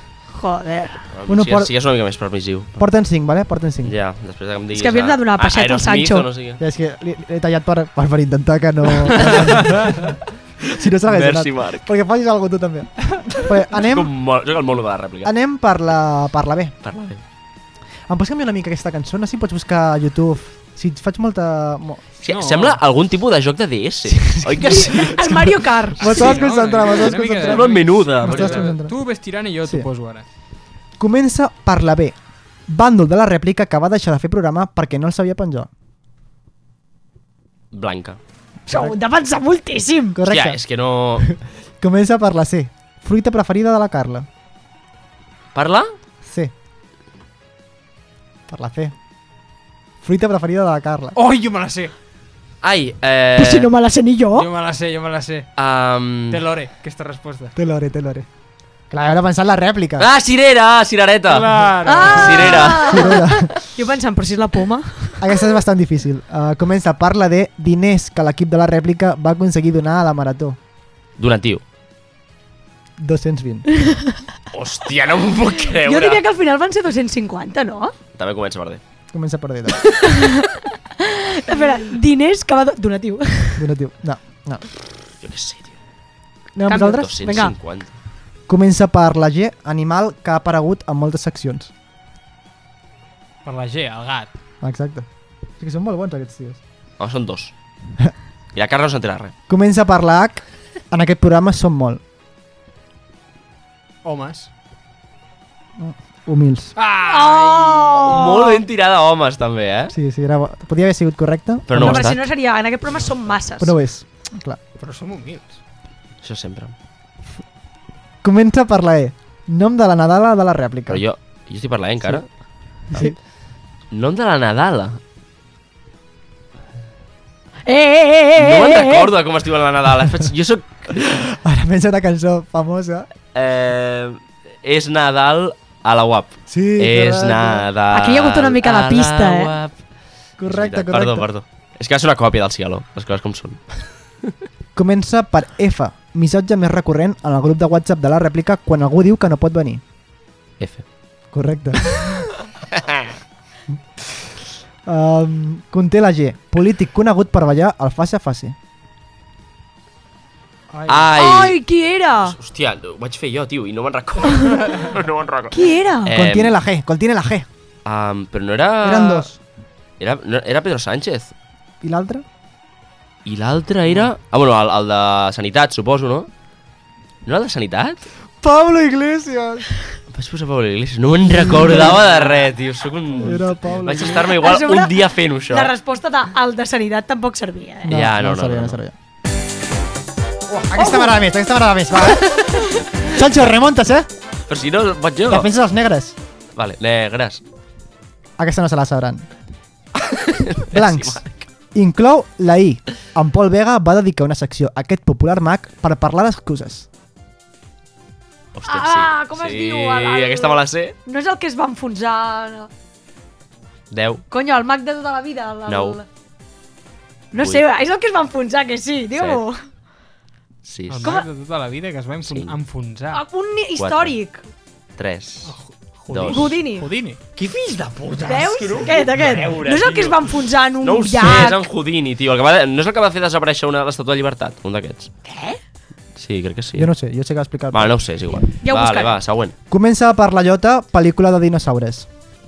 Joder.
Uno
si,
por-
si és una mica més permissiu.
Porten 5, vale? Porten 5.
Ja, després que em diguis...
És que havíem de donar
ah,
peixet al
Aerosmith
Sancho.
o No sé què.
Ja, és que li- l'he tallat per, per, per intentar que no... si no se l'hagués
Merci,
donat.
Marc.
Perquè facis alguna tu també. Bé,
És
anem,
com mo- Soc el mono de la rèplica.
anem per, la, per la B.
Parla bé.
Em pots canviar una mica aquesta cançó? No sé si pots buscar a YouTube. Si et faig molta... Mo...
Sí,
No.
Sembla algun tipus de joc de DS. Oi que sí?
El Mario Kart.
M'estaves
Ah, no?
concentrant, m'estaves
Una mica de-
concentrant.
Sembla menuda.
M'estàs
Ah, perquè-
concentrant.
Tu ves tirant i jo
Sí.
t'ho poso ara.
Comença per la B. Bàndol de la rèplica que va deixar de fer programa perquè no el sabia penjar.
Blanca.
Això ho hem de pensar moltíssim.
Correcte.
Hòstia, és que no...
Comença per la C. Fruita preferida de la Carla.
Parla?
C. Per la C. Fruita preferida de la Carla.
Oh, jo me la sé.
Ai, eh...
Però si no me la sé ni jo.
Oh!
Jo me la sé, jo me la sé.
Um...
Té l'ore, aquesta resposta.
Té l'ore, té l'ore. Clar, haurà pensat la rèplica.
Ah, cirera, cirereta.
Claro.
Cirera.
Ah! Jo pensant, però si és la poma.
Aquesta és bastant difícil. Uh, comença, parla de diners que l'equip de la rèplica va aconseguir donar a la Marató.
Donatiu.
220.
Hòstia, no m'ho puc creure.
Jo diria que al final van ser 250, no?
També comença per D.
Comença per doncs. dir.
Espera, diners que va... do- Donatiu.
Donatiu. No, no.
Jo què sé, tio.
Anem amb
Canvi.
vosaltres?
250.
Comença per la G, animal que ha aparegut en moltes seccions. Ah,
Per la G, el gat.
Exacte. És que són molt bons aquests tios.
Home, són dos. I la Carla no s'entera res.
Comença per la H, en aquest programa són molt
Homes.
humils.
Oh. Molt ben tirada a homes, també, eh?
Sí, sí, era bo. Podia haver sigut correcte,
Però no,
no
ho ha
però si
estat.
no seria... En aquest programa són masses.
però no ho és. Clar.
Però som humils.
Això sempre.
Comença per la E, nom de la Nadala de la rèplica.
Però jo... Jo estic parlant encara.
Sí.
Nom de la Nadala.
Eh, eh, eh, eh, eh,
No me'n
eh, eh.
recordo de com es diu la Nadala. Faig- Jo sóc...
Ara pensa una cançó famosa.
Eh, és Nadal a la UAP.
Sí,
és
correcte.
Nadal
Aquí hi ha hagut una mica de
a la
pista, eh?
UAP.
Correcte,
És veritat.
correcte.
Perdó, perdó. És que va ser una còpia del Cielo, les coses com són.
Comença per F, missatge més recurrent en el grup de WhatsApp de la rèplica quan algú diu que no pot venir.
F.
Correcte. um, conté la G, polític conegut per ballar al face a face.
Ai!
Ai, qui era?
Hòstia, ho vaig fer jo, tio, i no me'n recordo. no me'n recordo.
Qui era?
Eh,
Contiene la G, contiene la G.
Um, però no era...
Eren dos.
Era, no, era Pedro Sánchez.
I l'altre?
I l'altre era... Ah, bueno, el, el de Sanitat, suposo, no? No era el de Sanitat?
Pablo Iglesias!
Em vas posar Pablo Iglesias? No me'n recordava de res, tio. Soc un...
Era Pablo
Vaig estar-me igual
A sobre,
un dia fent això.
La resposta de al de sanitat tampoc servia, eh?
Ja, no, no,
sabia,
no,
no
no.
sabia. Uah, aquesta m'agrada més, aquesta m'agrada més, va. Sancho, remontes, eh?
Però si no, vaig jo.
Defenses els negres.
Vale, negres.
Aquesta no se la sabran. Blancs. Inclou la I. En Pol Vega va dedicar una secció a aquest popular mag per parlar d'excuses.
Hòstia,
Ah,
sí.
com es
sí,
diu, el- el-
aquesta me la sé.
No és el que es va enfonsar...
10.
Conyo, el mag de tota la vida. El, el...
Nou.
No sé, és el que es va enfonsar, que sí, diu-ho.
Sí,
El
sí.
mag de tota la vida que es va enfon
Sí.
enfonsar.
Ah, Un ni- històric.
3.
Houdini.
Dos.
Houdini.
Houdini. Qui fills de puta!
Veus? Aquest, aquest.
veure,
No és el que
tio.
es va enfonsar en un
No ho sé, és en
llac.
Houdini, tio. El que va, no és el que va fer desaparèixer una l'estatua de llibertat, un d'aquests. Què? Sí, crec que sí.
Jo no ho sé, jo sé que va explicar.
Va, no ho sé, és igual.
Ja ho
vale,
buscaré.
va, següent.
Comença per la Llota, pel·lícula de dinosaures.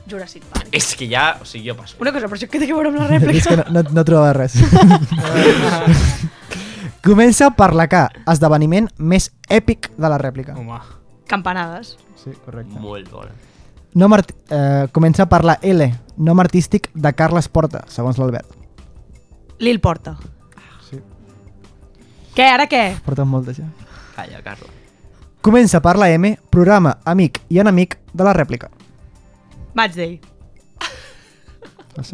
Jurassic Park.
És que ja, o sigui, jo passo.
Una cosa, però això què té a veure amb la
És que
rèplica?
no, no, no trobava res. Comença per la K, esdeveniment més èpic de la rèplica.
Home,
Campanades.
Sí, correcte.
Molt bona.
Nom art... eh, comença per la L, nom artístic de Carles Porta, segons l'Albert.
Lil Porta.
Sí.
Què, ara què?
Portes moltes, ja.
Calla, Carla.
Comença per la M, programa amic i enemic de la rèplica.
Match Day.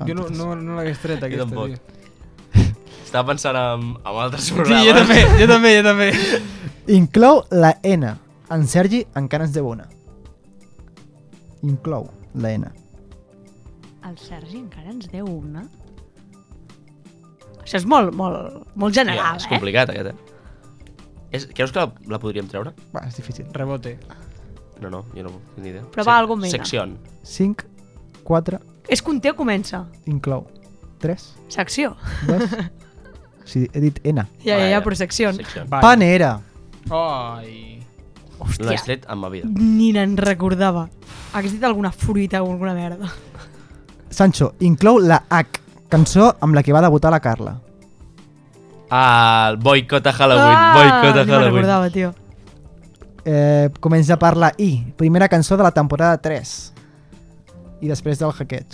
jo no, no, no l'hagués tret aquesta,
tampoc.
tio.
Estava pensant en, en altres
Sí,
programes.
jo també, jo també, jo també.
Inclou la N. En Sergi encara ens deu una. Inclou la N.
El Sergi encara ens deu una? Això és molt, molt, molt general,
és
eh?
complicat, aquest, eh? És, creus que la, la podríem treure?
Va, és difícil.
Rebote.
No, no, jo no tinc ni idea.
Però va, algú mena.
Secció.
5, 4,
És conté o comença?
inclou 3,
Secció.
2... sí, he dit N.
Ja, ja,
Vale,
ja, però secció.
Secció.
Vale.
Panera.
Ai.
No l'has tret en ma vida.
Ni n'en recordava. Hagués dit alguna fruita o alguna merda.
Sancho, inclou la H, cançó amb la que va debutar la Carla.
Ah, el boicot a Halloween. boicot a
Ah, ni me'n
Halloween.
recordava, tio.
Eh, comença per la I, primera cançó de la temporada 3. I després del hackeig.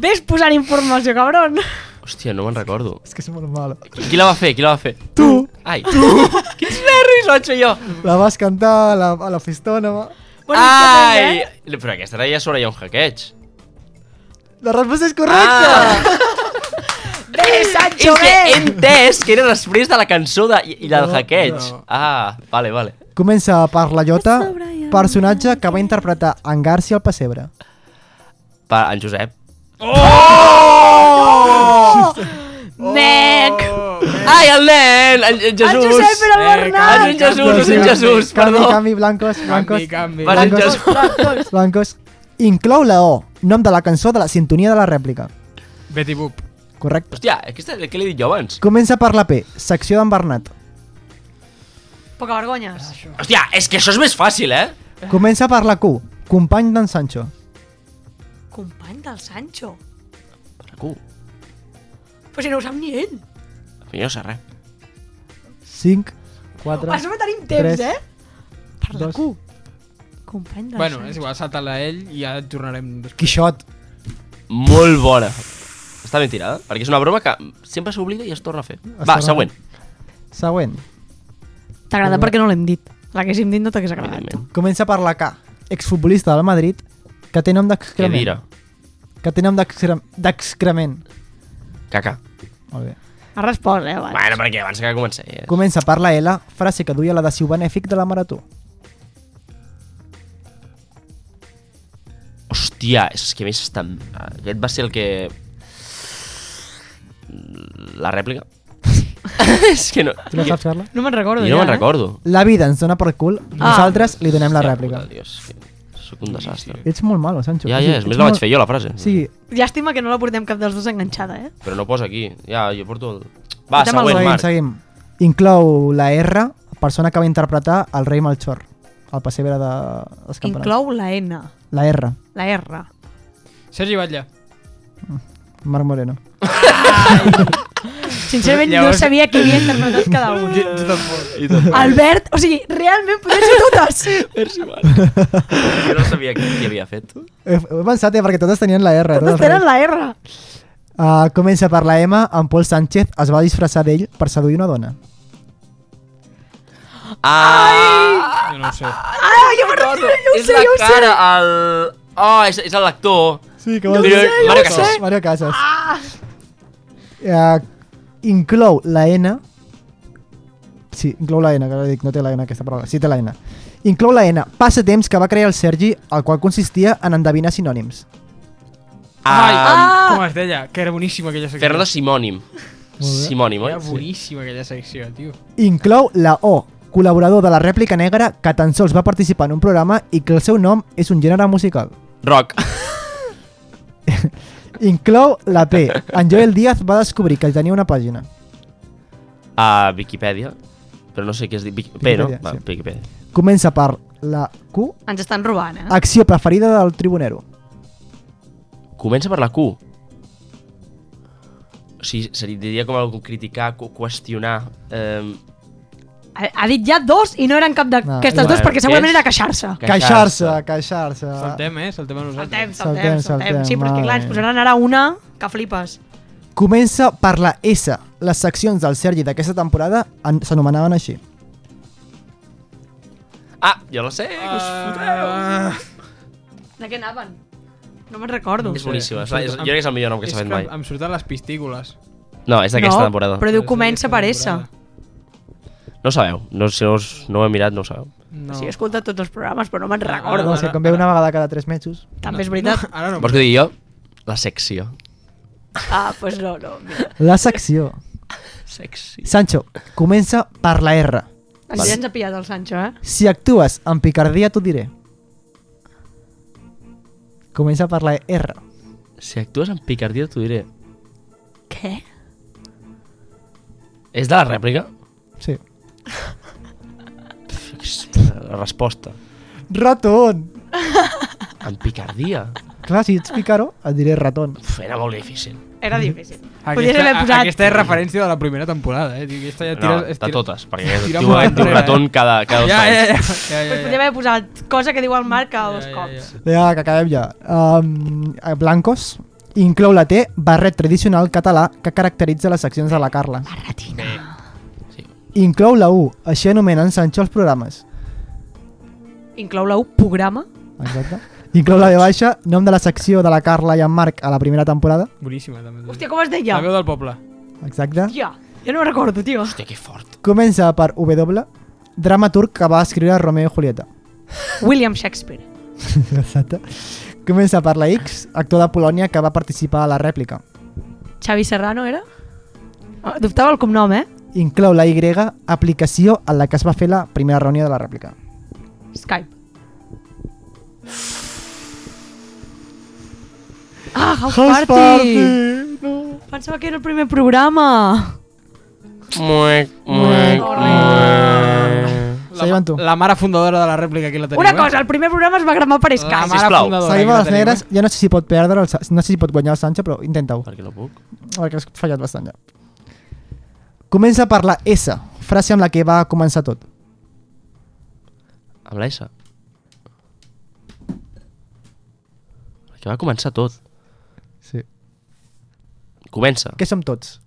Ves posant informació, cabron!
Hòstia, no me'n recordo.
És que és molt malo.
Qui, qui la va fer? Qui la va fer?
Tu,
Ai. Quins nervis l'ho jo.
la vas cantar a la, a la festona, va.
Bueno,
Ai.
eh?
Però aquesta era ja sobre ja un hackeig.
La resposta és correcta!
Ah!
Ah. Bé, Sancho,
és que he
bé!
entès que era després de la cançó de, i, i la del
No,
hackeig.
no.
Ah, vale, vale.
Comença per la Jota, personatge que va interpretar en Garci al Pessebre.
Per en Josep.
Oh!
Oh!
Nec!
Ai, el nen! En, en
El
Jesús!
Josep era el
Eh,
Ah,
Ai,
no
Bernat!
és Jesús, no és en
Canvi,
Jesús,
Doncs Canvi,
perdó.
canvi, blancos, blancos,
Canvi, canvi.
Vas en
Blancos.
Jesús.
blancos. Inclou la O, nom de la cançó de la sintonia de la rèplica.
Betty Boop.
Correcte.
Hòstia, aquesta, què l'he dit jo abans?
Comença per la P, secció d'en Bernat.
Poca vergonyes.
Hòstia, és que això és més fàcil, eh?
Comença per la Q, company d'en Sancho.
Company del Sancho.
Per la Q.
Però si no ho sap ni ell.
Jo no sé res.
5,
A
4,
sobre tenim temps,
tres,
eh? Per la
2...
Q. Company del
Bueno, és
Sancho.
igual, salta-la ell i ja et tornarem després.
Quixot.
Molt bona. Està ben tirada, perquè és una broma que sempre s'oblida i es torna a fer. Va,
torna a fer.
següent.
Següent.
T'agrada perquè no l'hem dit. L'haguéssim dit no t'hagués agradat.
Evidentment.
Comença per la K, exfutbolista del Madrid, que té nom
Què
d'excrement.
dirà?
Que té nom d'excre- d'excrement.
Caca.
Molt bé.
Ha respost, eh? Abans.
Bueno, perquè abans que comenci. Eh?
Comença per la L, frase que duia l'adhesiu benèfic de la Marató.
Hòstia, és que a més està... Aquest va ser el que... La rèplica? és que no...
Tu la saps, Carla?
No me'n recordo
Jo no
ja, eh?
me'n recordo.
La vida ens dona per cul, nosaltres li donem la
Hòstia
rèplica.
puta, Dios, que soc un desastre.
Ets molt malo, Sancho.
Ja,
O sigui,
ja, és
ets
més la vaig
molt-
fer jo, la frase.
O sigui,
eh? Llàstima que no la portem cap dels dos enganxada, eh?
Però no posa aquí. Ja, jo porto el... Va,
Portem el
següent,
seguim,
Marc.
seguim. Inclou la R, persona que va interpretar el rei Melchor, el pessebre de... dels campanats.
Inclou la N,
La R,
la R.
Sergi Batlle.
Marc Moreno.
Sincerament
Llavors-
no sabia qui havia interpretat cada un.
I tot.
Albert, o sigui, realment podrien ser totes.
Merci, mare. Jo no sabia què, què havia fet.
He, he pensat, eh, perquè totes tenien la R.
Totes tenen la R.
Uh, comença per la M, en Pol Sánchez es va disfressar d'ell per seduir una dona.
Ah!
Jo no ho sé.
Ah, jo per no, jo ho
és
sé,
la
jo ho sé.
cara al... Oh, és, és el lector.
Sí, que
ho Però- sé, jo
Mario
ho
Casas.
sé. Ah.
Mario Casas. Uh, inclou la N... Sí, inclou la N, que ara dic, no té la N aquesta paraula. Sí, té la N. Inclou la N, passatemps que va crear el Sergi, el qual consistia en endevinar sinònims.
Ai,
Ah,
ah! com es deia? Que era boníssima aquella secció.
Fer-la simònim. Simònim,
Era
oi? Sí.
boníssima aquella secció, tio.
Inclou la O, col·laborador de la rèplica negra que tan sols va participar en un programa i que el seu nom és un gènere musical.
Rock.
Inclou la P. En Joel Díaz va descobrir que tenia una pàgina.
A Ah, Viquipèdia. Però no sé què es diu. Vic... P, no?
Viquipèdia,
Va,
sí.
Viquipèdia.
Comença per la Q,
Ens estan robant, eh?
acció preferida del tribunero.
Comença per la Q. O sigui, seria, diria com algú criticar, cu- qüestionar... Eh,
Ha, ha dit ja dos i no eren cap
No,
d'aquestes
no.
dues perquè
Bueno,
segurament
és-
era queixar-se.
Queixar-se, queixar-se.
Saltem, eh? Saltem a nosaltres.
Saltem,
Saltem,
saltem, saltem. Sí, però és
saltem,
que clar, ens
vale.
posaran ara una que flipes.
Comença per la S. Les seccions del Sergi d'aquesta temporada en- s'anomenaven així.
ah, jo la sé, que us foteu.
Ah,
De què anaven? No me'n recordo.
És boníssima. és la- és- Jo crec que és el millor nom que
és
s'ha fet
que
mai.
em- Em surten les pistícules.
No, és d'aquesta
no,
temporada.
però diu
És
comença per S.
d'aquesta
No ho sabeu. No, si no, us, no ho he mirat, no ho sabeu.
temporada. No.
Sí, he escoltat tots els programes, però no me'n
No,
recordo.
sé, com ve una vegada cada 3 mesos.
També és veritat.
Ara no.
Vols que ho digui jo? La secció.
Ah, doncs pues no, no. mira.
La secció.
Sexy.
Sancho, comença per la R.
Ens ja ens ha pillat el Sancho, eh?
Si actues amb picardia, t'ho diré. Comença per la R.
Si actues amb picardia, t'ho diré.
Què?
És de la rèplica?
Sí.
La resposta.
Ratón!
Amb picardia?
Clar, si ets picaro, et diré ratón.
Uf, era molt difícil.
Era difícil. Podries
Aquesta,
haver
a-
posat...
aquesta és referència de la primera temporada, eh? Tio, aquesta ja tira,
no, de totes, perquè
tira
diu,
molt
diu
enrere,
raton cada, cada dos
Ja, ja, ja. ja,
anys.
Pues
ja,
podria
ja.
haver posat cosa que diu el Marc cada dos
Ja, ja,
cops.
ja.
Ja, que acabem ja. Um, blancos. Inclou la T, barret tradicional català que caracteritza les seccions de la Carla.
Ratina.
Inclou la U, així anomenen Sancho els programes.
Inclou la U, programa.
Exacte. Inclou la B baixa, nom de la secció de la Carla i en Marc a la primera temporada.
Boníssima, també.
Hòstia, com es deia?
La veu del poble.
Exacte.
Hòstia, jo no me'n recordo, tio.
Hòstia, que fort.
Comença per W, dramaturg que va escriure Romeo i Julieta.
William Shakespeare.
Exacte. Comença per la X, actor de Polònia que va participar a la rèplica.
Xavi Serrano era? Ah, Dubtava el cognom, eh?
Inclou la Y, aplicació en la que es va fer la primera reunió de la rèplica.
Skype. Ah, House, Party. Pensava que era el primer programa.
Muec, muec, muec.
Seguim amb tu.
La mare fundadora de la rèplica, aquí la teniu,
Una cosa, el primer programa es va gravar per
La
Skype.
Ah, mare
Sisplau.
fundadora,
Seguim
aquí
a
la
les
teniu,
negres. Jo no sé si pot perdre, el, Sa- no sé si pot guanyar el Sancho, però intenta-ho,
Perquè no puc.
perquè has fallat bastant ja. Comença per la S, frase amb la que va començar tot.
Amb la S. Que va començar tot.
Sí.
Comença.
Què som tots?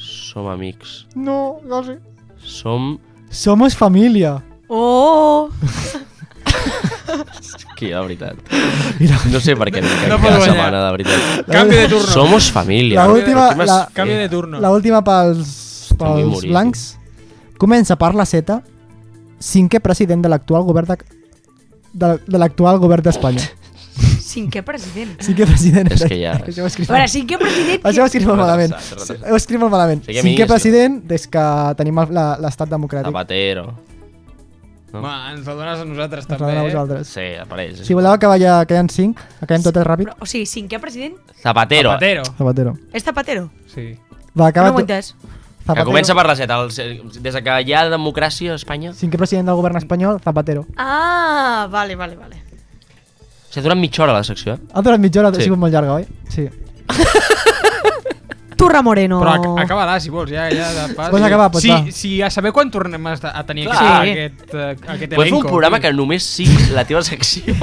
Som amics.
No, no sé.
Som...
Somos família.
Oh,
Que la veritat.
Mira,
No sé per què no,
No
cada
pot guanyar.
setmana, de veritat.
eh? Canvi de turno.
Somos família.
La última-
Últimes-
la-
Canvi de turno.
la última pels,
vull
pels
morir,
blancs. Comença per la Z, cinquè president de l'actual govern de, de, de l'actual govern d'Espanya.
cinquè president.
Cinquè president.
És que ja-
Això ho escric,
A veure, cinquè president...
això ho escric molt malament.
Retrasat, retrasat.
Ho escric molt malament.
Sí que
Cinquè
minis,
president des que tenim el- la- l'estat democràtic.
Zapatero.
Va, ens la dones a nosaltres
Ens
també,
agrada a
eh?
vosaltres.
Sí, apareix.
Si voleu acabar ja, que hi ha cinc, acabem totes ràpid.
Però, o sigui, cinquè president
Zapatero.
¿eh? Zapatero.
Zapatero.
és Zapatero.
Sí.
No
Va, acaba
m'ho he
tu-
entès.
Que
Zapatero.
comença per la Z. El, des que hi ha democràcia a Espanya...
Cinquè president del govern espanyol, Zapatero.
Ah, vale, vale, vale.
S'ha durat mitja hora la secció, eh?
Ha durat mitja hora,
Sí.
ha sigut molt llarga, oi? Sí.
Turra Moreno.
Però ac acaba-la, si vols, ja, ja de pas.
Pots acabar, pots
si,
acabar.
si a saber quan tornem a, estar- a tenir
Clar.
aquí
Sí.
aquest, eh, aquest
Pots fer un
elenco,
programa
tio.
que només sigui la teva secció.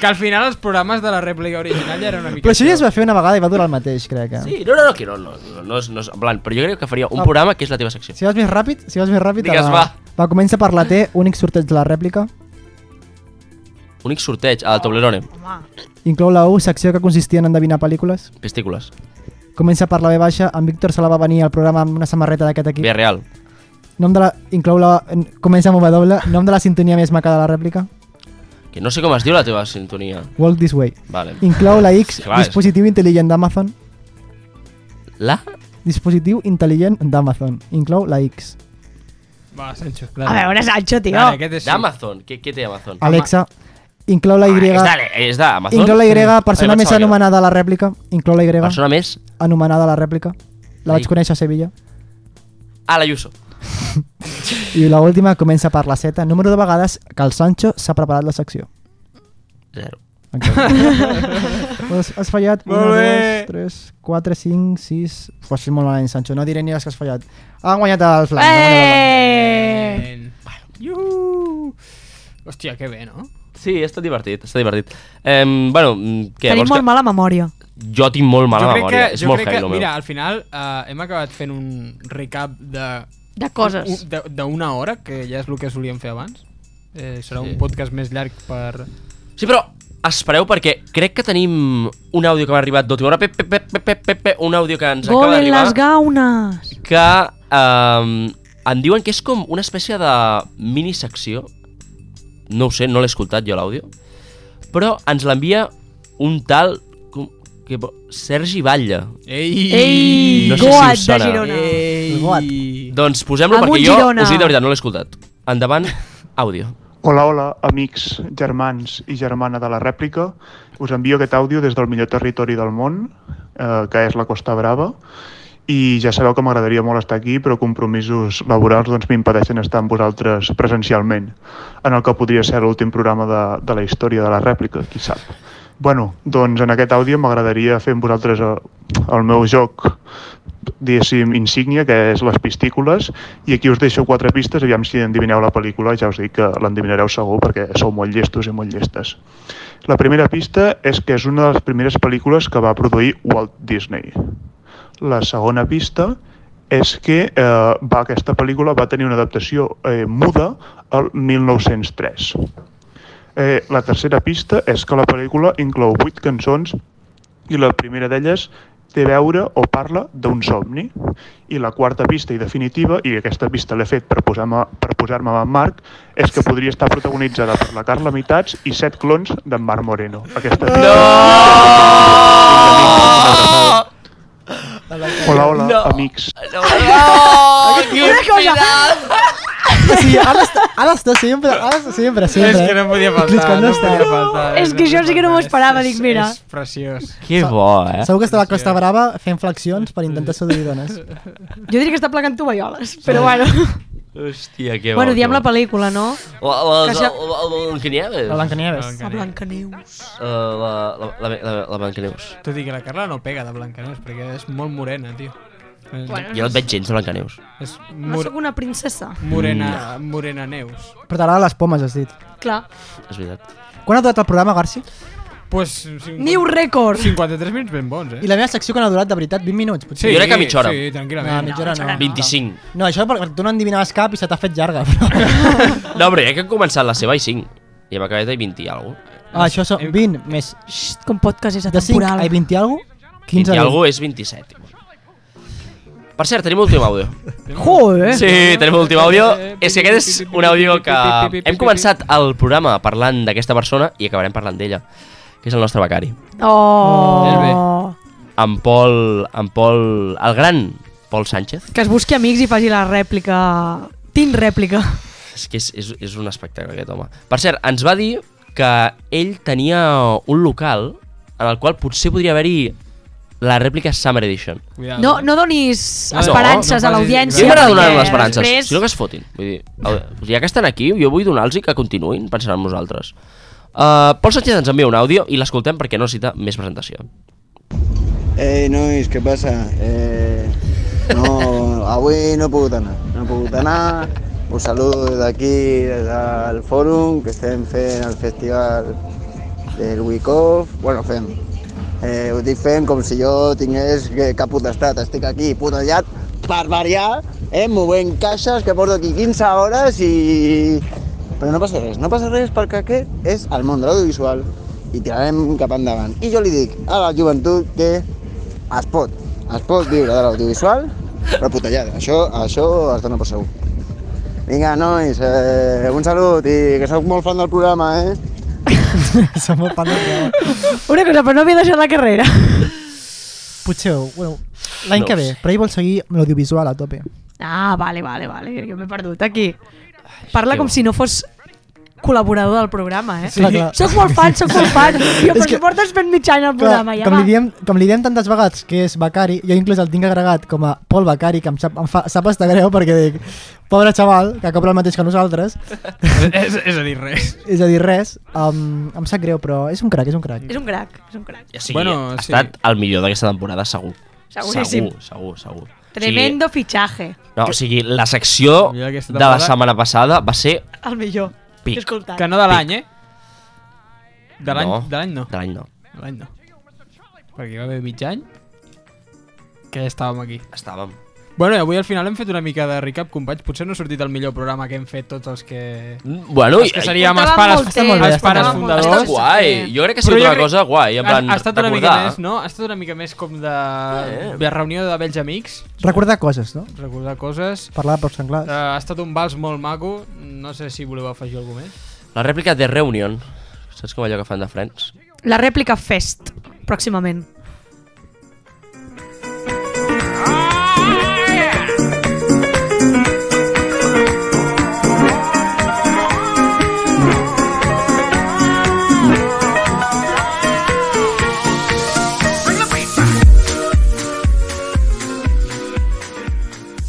Que al final els programes de la rèplica original ja era una mica...
Però això ja es va fer una vegada i va durar el mateix, crec. Eh?
Sí, no, no, no, que no, no, no, no, és, no és en blanc, però jo crec que faria un
Ah.
programa que és la teva secció.
Si vas més ràpid, si vas més ràpid...
Digues,
a la-
va.
Va, comença per la T, únic sorteig de la rèplica.
Únic sorteig, al Toblerone.
Inclou la U, secció que consistia en endevinar pel·lícules.
Pestícules.
Comença per la B baixa, en Víctor se la va venir al programa amb una samarreta d'aquest equip.
Via real.
Nom de la... Inclou la... en- Comença amb W, nom de la sintonia més maca de la rèplica.
Que no sé com es diu la teva sintonia.
Walk this way.
Vale.
Inclou la X,
Clar, és-
dispositiu intel·ligent d'Amazon.
La?
Dispositiu intel·ligent d'Amazon. Inclou la X.
Va, Sancho.
A veure, Sancho, tio.
Vale, aquest és...
D'Amazon. Què, què té Amazon?
Alexa. Inclou la Y.
Ah, és de- és d'Amazon?
Inclou la Y, persona
Ai, pensava
més
que era.
anomenada a la rèplica. Inclou la Y,
Persona més?
anomenada a la rèplica. La vaig
Ai.
conèixer a Sevilla.
Ah, la Yuso.
I la última comença per la Z, número de vegades que el Sancho s'ha preparat la secció.
Zero.
Has, has fallat 1,
Molt bé.
2, 3, 4, 5, 6... Ho has fet molt malament, Sancho, no diré ni les que has fallat. Ha guanyat el Flan.
Eh!
Juhu! Hòstia, que bé, no?
Sí, està divertit, està divertit. Um, bueno, mm, què,
Tenim
vols
molt mala memòria.
que... Jo tinc molt mala memòria, és
jo
molt
crec
heavy,
que,
el meu.
Mira, al final eh, hem acabat fent un recap de
De coses.
un- de- d'una hora, que ja és el que solíem fer abans. Eh, serà
Sí.
un podcast més llarg per...
Sí, però espereu perquè crec que tenim un àudio que m'ha arribat d'última hora, pep, pep, pep, pep, pep, pep, pep, un àudio que ens
Gol
acaba
en les
d'arribar,
gaunes.
que um, em diuen que és com una espècie de minisecció, no ho sé, no l'he escoltat jo l'àudio, però ens l'envia un tal com, que, bo- Sergi Batlle.
Ei!
Ei,
No sé si Eh,
Goat
us
de
sona.
Girona.
Ei!
What?
Doncs posem-lo
Amunt,
perquè jo,
Girona.
us dic de veritat, no l'he escoltat. Endavant, àudio.
Hola, hola, amics, germans i germana de la rèplica. Us envio aquest àudio des del millor territori del món, eh, que és la Costa Brava, i ja sabeu que m'agradaria molt estar aquí, però compromisos laborals doncs, m'impedeixen estar amb vosaltres presencialment, en el que podria ser l'últim programa de, de la història de la rèplica, qui sap. Bueno, doncs en aquest àudio m'agradaria fer amb vosaltres eh, el meu joc diguéssim, insígnia, que és les pistícules, i aquí us deixo quatre pistes, aviam si endivineu la pel·lícula, ja us dic que l'endivinareu segur perquè sou molt llestos i molt llestes. La primera pista és que és una de les primeres pel·lícules que va produir Walt Disney. La segona pista és que eh, va, aquesta pel·lícula va tenir una adaptació eh, muda al 1903. Eh, la tercera pista és que la pel·lícula inclou vuit cançons i la primera d'elles té a veure o parla d'un somni. I la quarta pista i definitiva, i aquesta pista l'he fet per posar-me per posar amb en Marc, és que podria estar protagonitzada per la Carla Mitats i set clons d'en Marc Moreno. Aquesta pista...
Oh!
No! Hola, hola, no. amics.
Una cosa,
Sí, ara està, ara està sempre, ara està sempre,
És
sempre. eh?
que no podia
És que
faltar,
no
no
està.
podia faltar.
És que jo sí que no m'ho
És-
esperava,
és-
dic, mira.
És preciós.
Que bo, eh?
Segur que està a la Costa Brava fent flexions per intentar seduir dones.
jo diria que està plegant tovalloles, però bueno.
Hòstia, que bo.
Bueno,
que
diem
bo.
la pel·lícula, no?
La, la,
Que
la,
ja-
la, la Blancanieves.
La Blancanieves.
La Blancaneus.
Eh, la, la, la, la, la Blancaneus.
Tot i que la Carla no pega de Blancaneus, perquè és molt morena, tio. Eh,
Bueno,
Jo no et veig gens de Blancaneus.
És
no
mor
sóc una princesa.
morena, morena Neus.
Però t'agrada les pomes, has dit.
Clar.
És veritat.
Quan ha durat el programa, Garci?
Pues, 50...
New record.
53 minuts ben bons, eh?
I la meva secció quan ha durat, de veritat, 20 minuts, potser?
Jo crec que mitja hora.
Sí,
No,
tranquil·lament.
mitja hora no.
25.
No, això perquè tu no endevinaves cap i se t'ha fet llarga. Però...
No, però ja que han començat la seva i 5. I hem acabat a 20 i alguna cosa.
Ah, això són 20 més
Xt, com podcast és
de 5
atemporal.
a 20 i algo?
20
15
i alguna cosa és 27. Per cert, tenim l'últim àudio.
Joder.
Sí, tenim l'últim àudio. És que aquest és un àudio que... Hem començat el programa parlant d'aquesta persona i acabarem parlant d'ella, que és el nostre becari.
Oh.
En Pol... En Pol... El gran Pol Sánchez.
Que es busqui amics i faci la rèplica. Tinc rèplica.
És que és, és, és un espectacle aquest home. Per cert, ens va dir que ell tenia un local en el qual potser podria haver-hi la rèplica Summer Edition.
Cuidado,
No,
eh?
no donis
No,
esperances
no
a
facis-
Sí,
Sí,
jo
l'audiència.
m'agrada donar
perquè
les esperances,
després-
si no que es fotin. Vull dir, el- ja que estan aquí, jo vull donar-los i que continuïn pensant en nosaltres. Uh, Pol Sánchez ens envia un àudio i l'escoltem perquè no necessita més presentació.
Ei, nois, què passa? Eh, no, avui no he pogut anar, no he pogut anar. Us saludo des d'aquí, des del fòrum, que estem fent el festival del Week Off. Bueno, fem. Eh, ho dic fent com si jo tingués eh, cap potestat. Estic aquí putellat per variar, eh, movent caixes que porto aquí 15 hores i... Però no passa res, no passa res perquè aquest és el món de l'audiovisual i tirarem cap endavant. I jo li dic a la joventut que es pot, es pot viure de l'audiovisual, però putellat, això, això es dona per segur. Vinga, nois, eh, un salut i que sóc molt fan del programa, eh?
Som molt fan del programa.
Una cosa, però no havia deixat la carrera.
Potser, bueno, l'any
No
que
ho
ve,
sé.
però ell vol seguir amb l'audiovisual a tope.
Ah, vale, vale, vale, jo m'he perdut aquí. Parla com si no fos col·laborador del programa, eh?
Sí. Clar, clar.
Soc molt fan, soc molt fan. Jo,
És
però
que-
si portes ben mig any al programa, ja
com,
va.
li diem, com li diem tantes vegades que és becari, jo inclús el tinc agregat com a Pol Becari, que em sap, em fa, sap estar greu perquè dic, pobre xaval, que cobra el mateix que nosaltres,
és, és a dir, res.
és a dir, res, um, em sap greu, però és un crac, és un crac.
És un crac, és un crac.
O sigui,
Bueno,
bueno, ha
sí.
estat el millor d'aquesta temporada, segur.
Seguríssim.
Segur, segur, segur.
Tremendo
O
fitxaje,
sigui, no, o sigui, la secció
Jo aquesta
de la
temporada-
setmana passada va ser
el millor.
Pic.
Que he escoltat.
Que no de l'any, eh? De l'any
No.
no. de l'any no.
de l'any no.
De l'any no. Perquè hi va haver mig any que ja estàvem aquí.
Estàvem.
Bueno, i avui al final hem fet una mica de recap, companys. Potser no ha sortit el millor programa que hem fet tots els que...
Mm, Bueno,
Els que
i-
seríem els
Portava
pares,
molt
Està molt bé,
els
està
pares
molt
bé.
fundadors.
Està guai. Jo crec que ha sigut
Però jo
una
crec-
cosa guai. En plan,
ha, ha estat una mica
recordar.
més, no? Ha estat una mica més com de,
Eh.
de reunió de vells amics,
Recordar coses, no?
recordar coses.
Parlar per
Eh,
Sant Clar.
ha estat un vals molt maco, no sé si voleu afegir alguna més.
La rèplica de Reunion. Saps com allò que fan de Friends?
La rèplica Fest, pròximament.